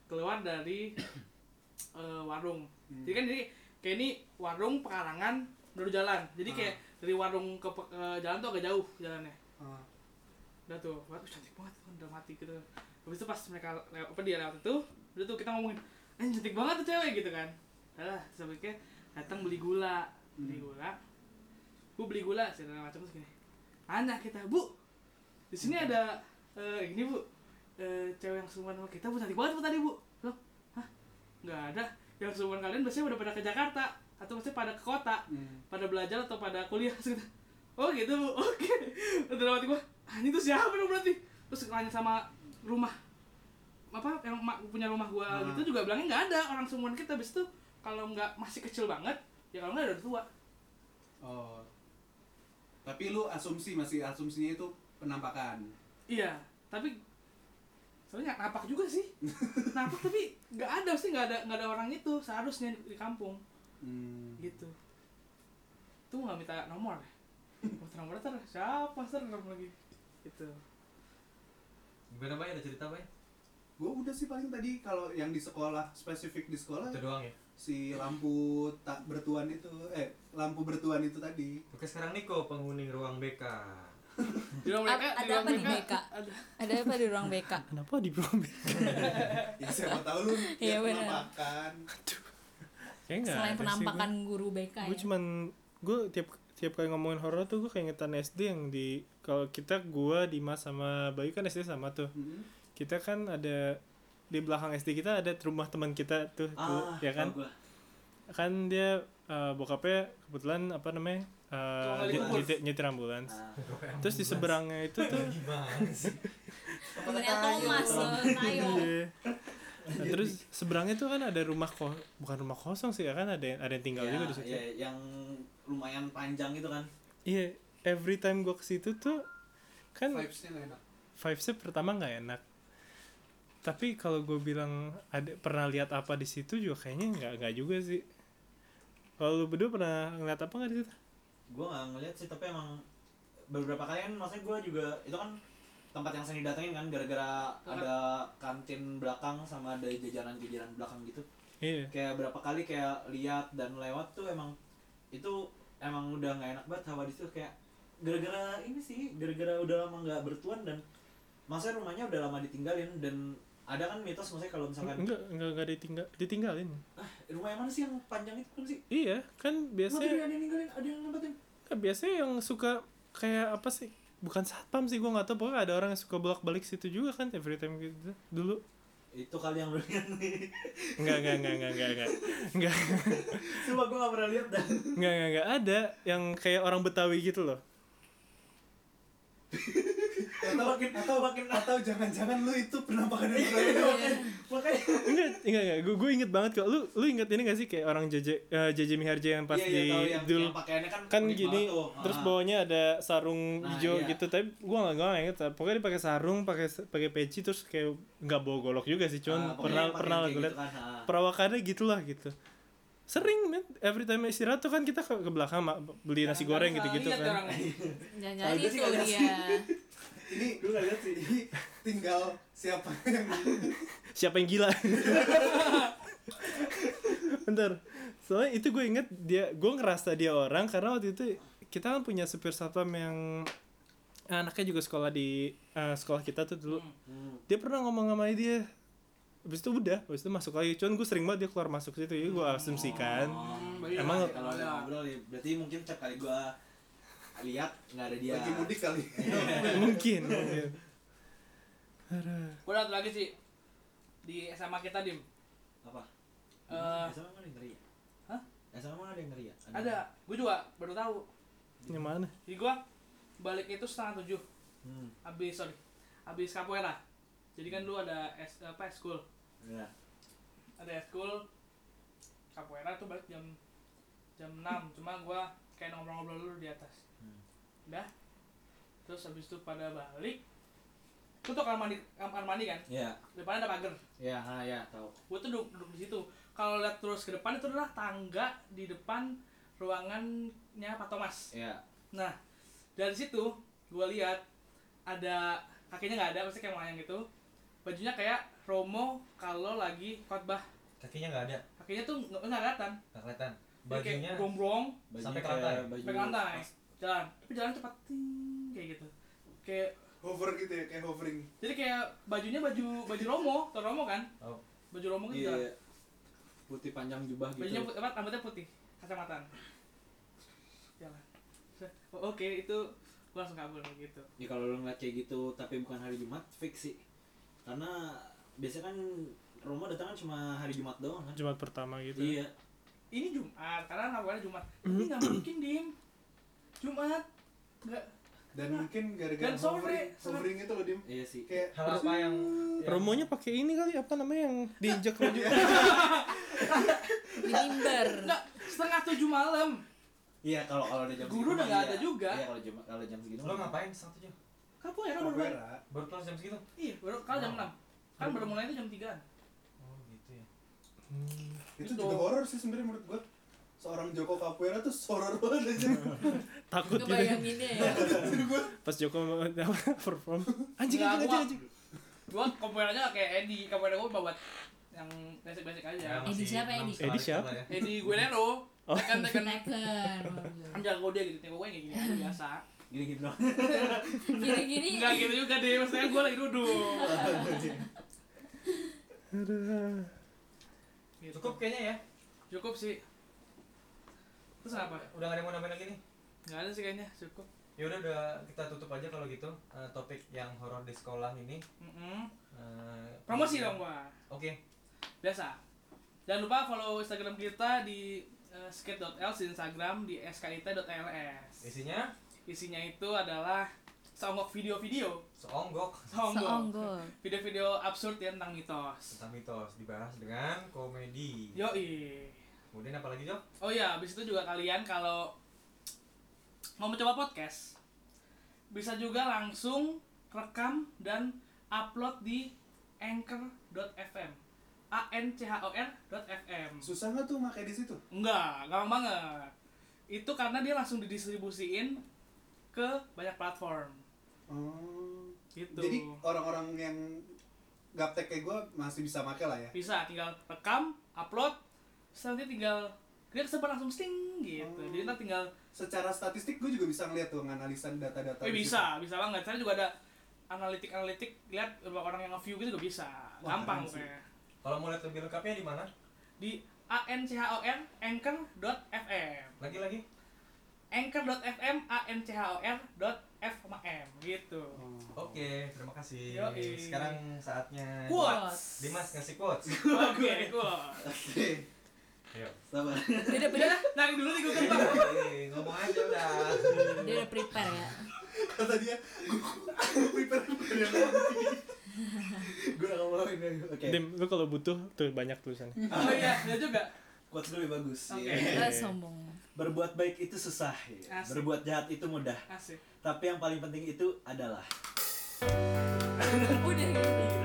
[SPEAKER 2] keluar dari eh, warung
[SPEAKER 3] Hmm.
[SPEAKER 2] jadi kan jadi kayak ini warung pekarangan baru jalan jadi kayak dari warung ke, pe- ke jalan tuh agak jauh jalannya
[SPEAKER 3] Ah.
[SPEAKER 2] udah tuh waduh cantik banget kan udah mati gitu habis itu pas mereka lewat apa dia lewat itu udah tuh kita ngomongin anjing cantik banget tuh cewek gitu kan adalah sebaiknya datang beli gula beli
[SPEAKER 3] Hmm.
[SPEAKER 2] gula bu beli gula segala macam terus gini anak kita bu di sini ada eh, ini bu eh, cewek yang sumuran sama kita bu cantik banget bu tadi bu loh hah nggak ada yang sumuran kalian biasanya udah pada ke Jakarta atau maksudnya pada ke kota
[SPEAKER 3] Hmm.
[SPEAKER 2] pada belajar atau pada kuliah terus gitu. Oh gitu, Bu. oke. Dalam hati gua, anjing itu siapa dong berarti? Terus nanya sama rumah apa yang mak punya rumah gua
[SPEAKER 3] Nah.
[SPEAKER 2] gitu juga bilangnya nggak ada orang semuanya kita habis itu kalau nggak masih kecil banget ya kalau nggak udah tua
[SPEAKER 3] oh tapi lu asumsi masih asumsinya itu penampakan
[SPEAKER 2] iya tapi soalnya napak juga sih napak tapi nggak ada sih nggak ada nggak ada orang itu seharusnya di, di kampung
[SPEAKER 3] Hmm.
[SPEAKER 2] gitu tuh nggak minta nomor ya? minta nomor ntar siapa serem lagi gitu
[SPEAKER 4] gimana bay ada cerita bay
[SPEAKER 3] Gue udah sih paling tadi kalau yang di sekolah spesifik di sekolah
[SPEAKER 4] itu doang ya
[SPEAKER 3] si lampu tak bertuan itu eh lampu bertuan itu tadi
[SPEAKER 4] oke sekarang Niko penghuni ruang BK
[SPEAKER 2] Di ruang mereka,
[SPEAKER 5] Ada
[SPEAKER 2] ruang
[SPEAKER 5] apa di BK?
[SPEAKER 2] Ada.
[SPEAKER 5] Ada apa di ruang BK?
[SPEAKER 1] Kenapa di Brombe?
[SPEAKER 3] ya siapa tahu lu
[SPEAKER 5] Iya,
[SPEAKER 3] lihat
[SPEAKER 5] benar.
[SPEAKER 3] penampakan
[SPEAKER 1] Kayak nggak
[SPEAKER 5] Selain
[SPEAKER 1] ada sih,
[SPEAKER 5] penampakan guru BK
[SPEAKER 1] gue
[SPEAKER 5] ya.
[SPEAKER 1] cuman gue tiap tiap kali ngomongin horor tuh gue kayak ngetan SD yang di kalau kita gua Dimas sama Bayu kan SD sama tuh
[SPEAKER 3] Hmm.
[SPEAKER 1] kita kan ada di belakang SD kita ada rumah teman kita tuh tuh,
[SPEAKER 6] ah
[SPEAKER 1] ya kan
[SPEAKER 6] tau gua.
[SPEAKER 1] kan dia eh, bokapnya kebetulan apa namanya eh,
[SPEAKER 2] Tukang gali
[SPEAKER 1] nyi-
[SPEAKER 2] kubur.
[SPEAKER 1] nyetir, nyetir ambulans
[SPEAKER 6] Ah.
[SPEAKER 1] terus di seberangnya itu tuh
[SPEAKER 4] gimana sih
[SPEAKER 5] Temennya Thomas, eh, Tayo.
[SPEAKER 1] Iya. Nah, terus seberangnya tuh kan ada rumah kos bukan rumah kosong sih ya kan ada yang ada yang tinggal
[SPEAKER 6] Ya,
[SPEAKER 1] juga di situ.
[SPEAKER 6] ya, yang lumayan panjang itu kan
[SPEAKER 1] Iya, every time gua ke situ tuh kan
[SPEAKER 3] vibesnya nggak enak
[SPEAKER 1] vibesnya pertama nggak enak. Tapi kalau gue bilang ada pernah lihat apa di situ juga kayaknya nggak nggak juga sih. Kalau lu berdua pernah ngeliat apa nggak di situ?
[SPEAKER 6] gue nggak ngeliat sih tapi emang beberapa kali kan maksudnya gue juga itu kan tempat yang sering datengin kan gara-gara ada kantin belakang sama ada jajanan-jajanan belakang gitu
[SPEAKER 1] Iya.
[SPEAKER 6] kayak berapa kali kayak lihat dan lewat tuh emang itu emang udah nggak enak banget hawa di situ kayak gara-gara ini sih gara-gara udah lama nggak bertuan dan masa rumahnya udah lama ditinggalin dan ada kan mitos maksudnya kalau misalkan
[SPEAKER 1] Enggak, enggak, enggak ditinggal, ditinggalin.
[SPEAKER 6] ah, rumah yang mana sih yang panjang itu kan sih
[SPEAKER 1] Iya, kan
[SPEAKER 6] Mati
[SPEAKER 1] biasanya
[SPEAKER 6] ada yang ninggalin ada yang nempatin
[SPEAKER 1] Eh, biasanya yang suka kayak apa sih bukan satpam sih gua nggak tahu pokoknya ada orang yang suka bolak balik situ juga kan every time gitu dulu
[SPEAKER 6] itu kali yang lu lihat nih
[SPEAKER 1] nggak nggak nggak nggak nggak nggak nggak
[SPEAKER 6] cuma gue gak pernah lihat dan
[SPEAKER 1] nggak nggak nggak ada yang kayak orang betawi gitu loh
[SPEAKER 3] atau
[SPEAKER 6] makin
[SPEAKER 3] atau
[SPEAKER 6] makin Iya,
[SPEAKER 3] atau jangan-jangan lu itu penampakan yang berbeda.
[SPEAKER 6] makanya
[SPEAKER 1] enggak enggak enggak gue gue inget banget kok lu lu inget ini gak sih kayak orang JJ eh, JJ Miharja yang pas
[SPEAKER 6] Iya, iya, tahu
[SPEAKER 1] di
[SPEAKER 6] yang,
[SPEAKER 1] dulu
[SPEAKER 6] yang pakaiannya kan
[SPEAKER 1] kan
[SPEAKER 6] unik
[SPEAKER 1] gini
[SPEAKER 6] banget tuh.
[SPEAKER 1] terus
[SPEAKER 6] Ah.
[SPEAKER 1] bawahnya ada sarung
[SPEAKER 6] Nah,
[SPEAKER 1] hijau
[SPEAKER 6] iya.
[SPEAKER 1] gitu tapi gua nggak gua nggak inget pokoknya dia pakai sarung pakai pakai peci terus kayak nggak bawa golok juga sih
[SPEAKER 6] Ah,
[SPEAKER 1] cuman
[SPEAKER 6] pokoknya
[SPEAKER 1] pernah
[SPEAKER 6] yang
[SPEAKER 1] pernah lah
[SPEAKER 6] pakaian
[SPEAKER 1] gue liat
[SPEAKER 6] kayak gitu kan, ah.
[SPEAKER 1] perawakannya gitulah gitu sering men every time istirahat tuh kan kita ke, ke belakang mak, beli nasi goreng gitu
[SPEAKER 6] Iya,
[SPEAKER 1] gitu
[SPEAKER 2] Lihat
[SPEAKER 1] kan
[SPEAKER 2] orang ini.
[SPEAKER 5] Jangan-jangan
[SPEAKER 6] Kalau gue sih
[SPEAKER 5] itu
[SPEAKER 6] nggak lihat
[SPEAKER 5] dia.
[SPEAKER 3] ini
[SPEAKER 6] Gue nggak lihat sih
[SPEAKER 3] ini tinggal siapa yang
[SPEAKER 1] siapa yang gila bentar soalnya itu gue inget dia gue ngerasa dia orang karena waktu itu kita kan punya supir satpam yang eh, anaknya juga sekolah di eh, sekolah kita tuh dulu
[SPEAKER 6] Hmm.
[SPEAKER 1] dia pernah ngomong sama dia habis itu udah habis itu masuk lagi cuman gue sering banget dia keluar masuk situ jadi gue asumsikan
[SPEAKER 6] Oh.
[SPEAKER 2] Iya,
[SPEAKER 1] kan? Emang-
[SPEAKER 2] iya,
[SPEAKER 6] kalau ada
[SPEAKER 2] iya.
[SPEAKER 6] ngobrol ya berarti mungkin setiap kali gua lihat nggak ada dia
[SPEAKER 3] lagi mudik kali
[SPEAKER 1] Iya. mungkin mungkin Aduh.
[SPEAKER 2] Gua lihat lagi sih di SMA kita dim
[SPEAKER 6] apa
[SPEAKER 2] Eh,
[SPEAKER 6] SMA mana yang ngeri ya
[SPEAKER 2] Hah?
[SPEAKER 6] SMA mana ada yang ngeri ya
[SPEAKER 2] ada gue juga baru tahu
[SPEAKER 1] yang mana
[SPEAKER 2] jadi gue balik itu setengah tujuh
[SPEAKER 6] hmm.
[SPEAKER 2] abis sorry abis capoeira jadi kan dulu ada es apa school
[SPEAKER 6] ya.
[SPEAKER 2] ada school capoeira tuh balik jam jam 6 cuma gua kayak ngobrol-ngobrol dulu di atas
[SPEAKER 6] Hmm.
[SPEAKER 2] udah terus habis itu pada balik gua tuh kamar mandi kamar mandi kan
[SPEAKER 6] ya
[SPEAKER 2] depannya ada pagar
[SPEAKER 6] ya ha, ya tahu
[SPEAKER 2] gua tuh duduk, duduk di situ kalau lihat terus ke depan itu adalah tangga di depan ruangannya Pak Thomas
[SPEAKER 6] ya
[SPEAKER 2] nah dari situ gua lihat ada kakinya nggak ada maksudnya kayak melayang gitu bajunya kayak Romo kalau lagi khotbah
[SPEAKER 4] kakinya nggak ada
[SPEAKER 2] kakinya tuh nggak nggak kelihatan
[SPEAKER 4] nggak kelihatan
[SPEAKER 2] Dia
[SPEAKER 4] bajunya
[SPEAKER 2] kayak gombrong
[SPEAKER 6] bajunya
[SPEAKER 4] Sampai ke
[SPEAKER 6] kayak
[SPEAKER 4] lantai.
[SPEAKER 6] baju
[SPEAKER 2] pegang lantai jalan tapi jalan cepat ting kayak gitu kayak
[SPEAKER 3] hover gitu ya kayak hovering
[SPEAKER 2] jadi kayak bajunya baju baju romo tau romo kan
[SPEAKER 4] Oh.
[SPEAKER 2] baju romo gitu
[SPEAKER 6] iya
[SPEAKER 2] jalan.
[SPEAKER 6] putih panjang jubah gitu
[SPEAKER 2] bajunya putih, apa rambutnya putih kacamata jalan Set. Oh, oke itu gua langsung kabur gitu
[SPEAKER 6] ya kalau lo ngeliat kayak gitu tapi bukan hari Jumat fix sih karena biasanya kan Roma datang kan cuma hari Jumat doang kan
[SPEAKER 1] Jumat pertama gitu
[SPEAKER 6] iya
[SPEAKER 2] ini jumat karena awalnya jumat
[SPEAKER 1] Hmm.
[SPEAKER 2] ini nggak mungkin dim jumat nggak
[SPEAKER 3] dan mungkin gara-gara
[SPEAKER 2] Dan sore,
[SPEAKER 3] hovering,
[SPEAKER 2] sore.
[SPEAKER 3] hovering itu loh dim
[SPEAKER 6] iya sih
[SPEAKER 3] kayak
[SPEAKER 4] hal apa yang, yang
[SPEAKER 1] Romonya pakai ini kali apa namanya yang diinjak juga.
[SPEAKER 5] Di mimbar.
[SPEAKER 2] nggak setengah tujuh malam
[SPEAKER 6] iya kalau kalau ada jam
[SPEAKER 2] Guru
[SPEAKER 6] segitu
[SPEAKER 2] udah
[SPEAKER 6] mah
[SPEAKER 2] nggak
[SPEAKER 6] iya.
[SPEAKER 2] ada juga.
[SPEAKER 6] iya kalau jam kalau jam segitu
[SPEAKER 4] lo
[SPEAKER 6] mah. iya.
[SPEAKER 4] ngapain satu jam
[SPEAKER 2] kamu ya kan baru balik
[SPEAKER 3] Capoeira
[SPEAKER 4] baru kelas jam segitu
[SPEAKER 2] iya baru kalau
[SPEAKER 1] Oh.
[SPEAKER 2] jam enam kan baru mulai itu jam tiga
[SPEAKER 4] oh gitu ya
[SPEAKER 3] itu
[SPEAKER 2] Gitu.
[SPEAKER 3] juga horor sih sebenarnya menurut gua seorang Joko Capoeira tuh horor banget aja
[SPEAKER 1] Takut gitu.
[SPEAKER 5] Ngebayanginnya ya.
[SPEAKER 1] Pas Joko mau- perform. Anjing anjing
[SPEAKER 2] Nggak, gua-
[SPEAKER 1] anjing. anjing.
[SPEAKER 2] gua komputernya nggak kayak Edi komputer gua buat yang basic-basic aja
[SPEAKER 5] Edi
[SPEAKER 4] Ya, masih
[SPEAKER 5] siapa,
[SPEAKER 4] enam
[SPEAKER 5] Edi?
[SPEAKER 4] sekolah
[SPEAKER 1] Edi
[SPEAKER 4] itu
[SPEAKER 1] siapa?
[SPEAKER 4] lah ya.
[SPEAKER 2] Edi Guerrero
[SPEAKER 1] Ya. Oh.
[SPEAKER 2] tekan tekan
[SPEAKER 5] Tekken.
[SPEAKER 2] kan jago dia gitu tengok gue kayak gini aja biasa
[SPEAKER 6] gini gini doang
[SPEAKER 5] Gini-gini.
[SPEAKER 2] enggak gitu juga deh maksudnya gue lagi duduk
[SPEAKER 1] Aduh.
[SPEAKER 2] Gitu.
[SPEAKER 4] cukup kayaknya ya
[SPEAKER 2] cukup sih terus apa
[SPEAKER 4] udah gak ada yang mau nambahin lagi nih
[SPEAKER 2] nggak ada sih kayaknya cukup
[SPEAKER 4] ya udah udah kita tutup aja kalau gitu eh, topik yang horor di sekolah ini
[SPEAKER 2] Mm-mm.
[SPEAKER 4] Eh,
[SPEAKER 2] promosi
[SPEAKER 4] iya.
[SPEAKER 2] dong gua
[SPEAKER 4] oke
[SPEAKER 2] biasa jangan lupa follow instagram kita di eh, skate.ls di instagram di skit.ls
[SPEAKER 4] isinya
[SPEAKER 2] isinya itu adalah songgok video-video
[SPEAKER 4] seonggok
[SPEAKER 2] songgok
[SPEAKER 5] Seonggol.
[SPEAKER 2] video-video absurd ya tentang mitos
[SPEAKER 4] tentang mitos dibahas dengan komedi
[SPEAKER 2] yoi
[SPEAKER 4] kemudian apa lagi Jok?
[SPEAKER 2] Oh iya, habis itu juga kalian kalau mau mencoba podcast bisa juga langsung rekam dan upload di anchor.fm. A N C H O R.fm.
[SPEAKER 3] susah nggak tuh pakai di situ
[SPEAKER 2] Enggak, gampang banget. Itu karena dia langsung didistribusiin ke banyak platform.
[SPEAKER 3] oh.
[SPEAKER 2] Gitu.
[SPEAKER 3] jadi orang-orang yang gaptek kayak gua masih bisa pakai lah ya
[SPEAKER 2] bisa tinggal rekam, upload, terus nanti tinggal dia kesebar langsung sting gitu
[SPEAKER 3] Oh.
[SPEAKER 2] jadi ntar tinggal
[SPEAKER 3] Secara statistik gue juga bisa ngeliat tuh nganalisa data-data.
[SPEAKER 2] eh
[SPEAKER 3] di situ.
[SPEAKER 2] bisa bisa banget saya juga ada analitik analitik lihat berapa orang yang nge-view gitu juga bisa
[SPEAKER 3] Wah,
[SPEAKER 2] gampang
[SPEAKER 3] keren sih.
[SPEAKER 2] pokoknya
[SPEAKER 4] Kalau mau lihat lebih lengkapnya di mana?
[SPEAKER 2] di anchor anchor.fm
[SPEAKER 4] Lagi-lagi.
[SPEAKER 2] anchor.fm anchor.fm gitu
[SPEAKER 3] Oh.
[SPEAKER 4] Oke, terima kasih.
[SPEAKER 2] Yoi.
[SPEAKER 4] Sekarang saatnya
[SPEAKER 2] quotes
[SPEAKER 4] Dimas ngasih quotes.
[SPEAKER 2] oke quotes
[SPEAKER 3] Oke,
[SPEAKER 4] Ayo.
[SPEAKER 3] sabar.
[SPEAKER 5] Dia udah
[SPEAKER 2] udah
[SPEAKER 5] prepare,
[SPEAKER 2] dah, narik dulu nih gue kan Pak.
[SPEAKER 4] Hei, ngomong aja udah.
[SPEAKER 5] dia udah prepare ya.
[SPEAKER 3] Kata dia, gue prepare Gue gak mau ini. Oke,
[SPEAKER 1] Dim, lu kalau butuh tuh banyak tulisannya.
[SPEAKER 2] oh iya ada juga
[SPEAKER 6] Quotes gue lebih bagus.
[SPEAKER 2] Oke.
[SPEAKER 6] Iya.
[SPEAKER 5] Dia sombong.
[SPEAKER 6] Berbuat baik itu susah, ya.
[SPEAKER 2] Asik.
[SPEAKER 6] berbuat jahat itu mudah.
[SPEAKER 2] asik
[SPEAKER 6] Tapi yang paling penting itu adalah
[SPEAKER 5] Udah gitu.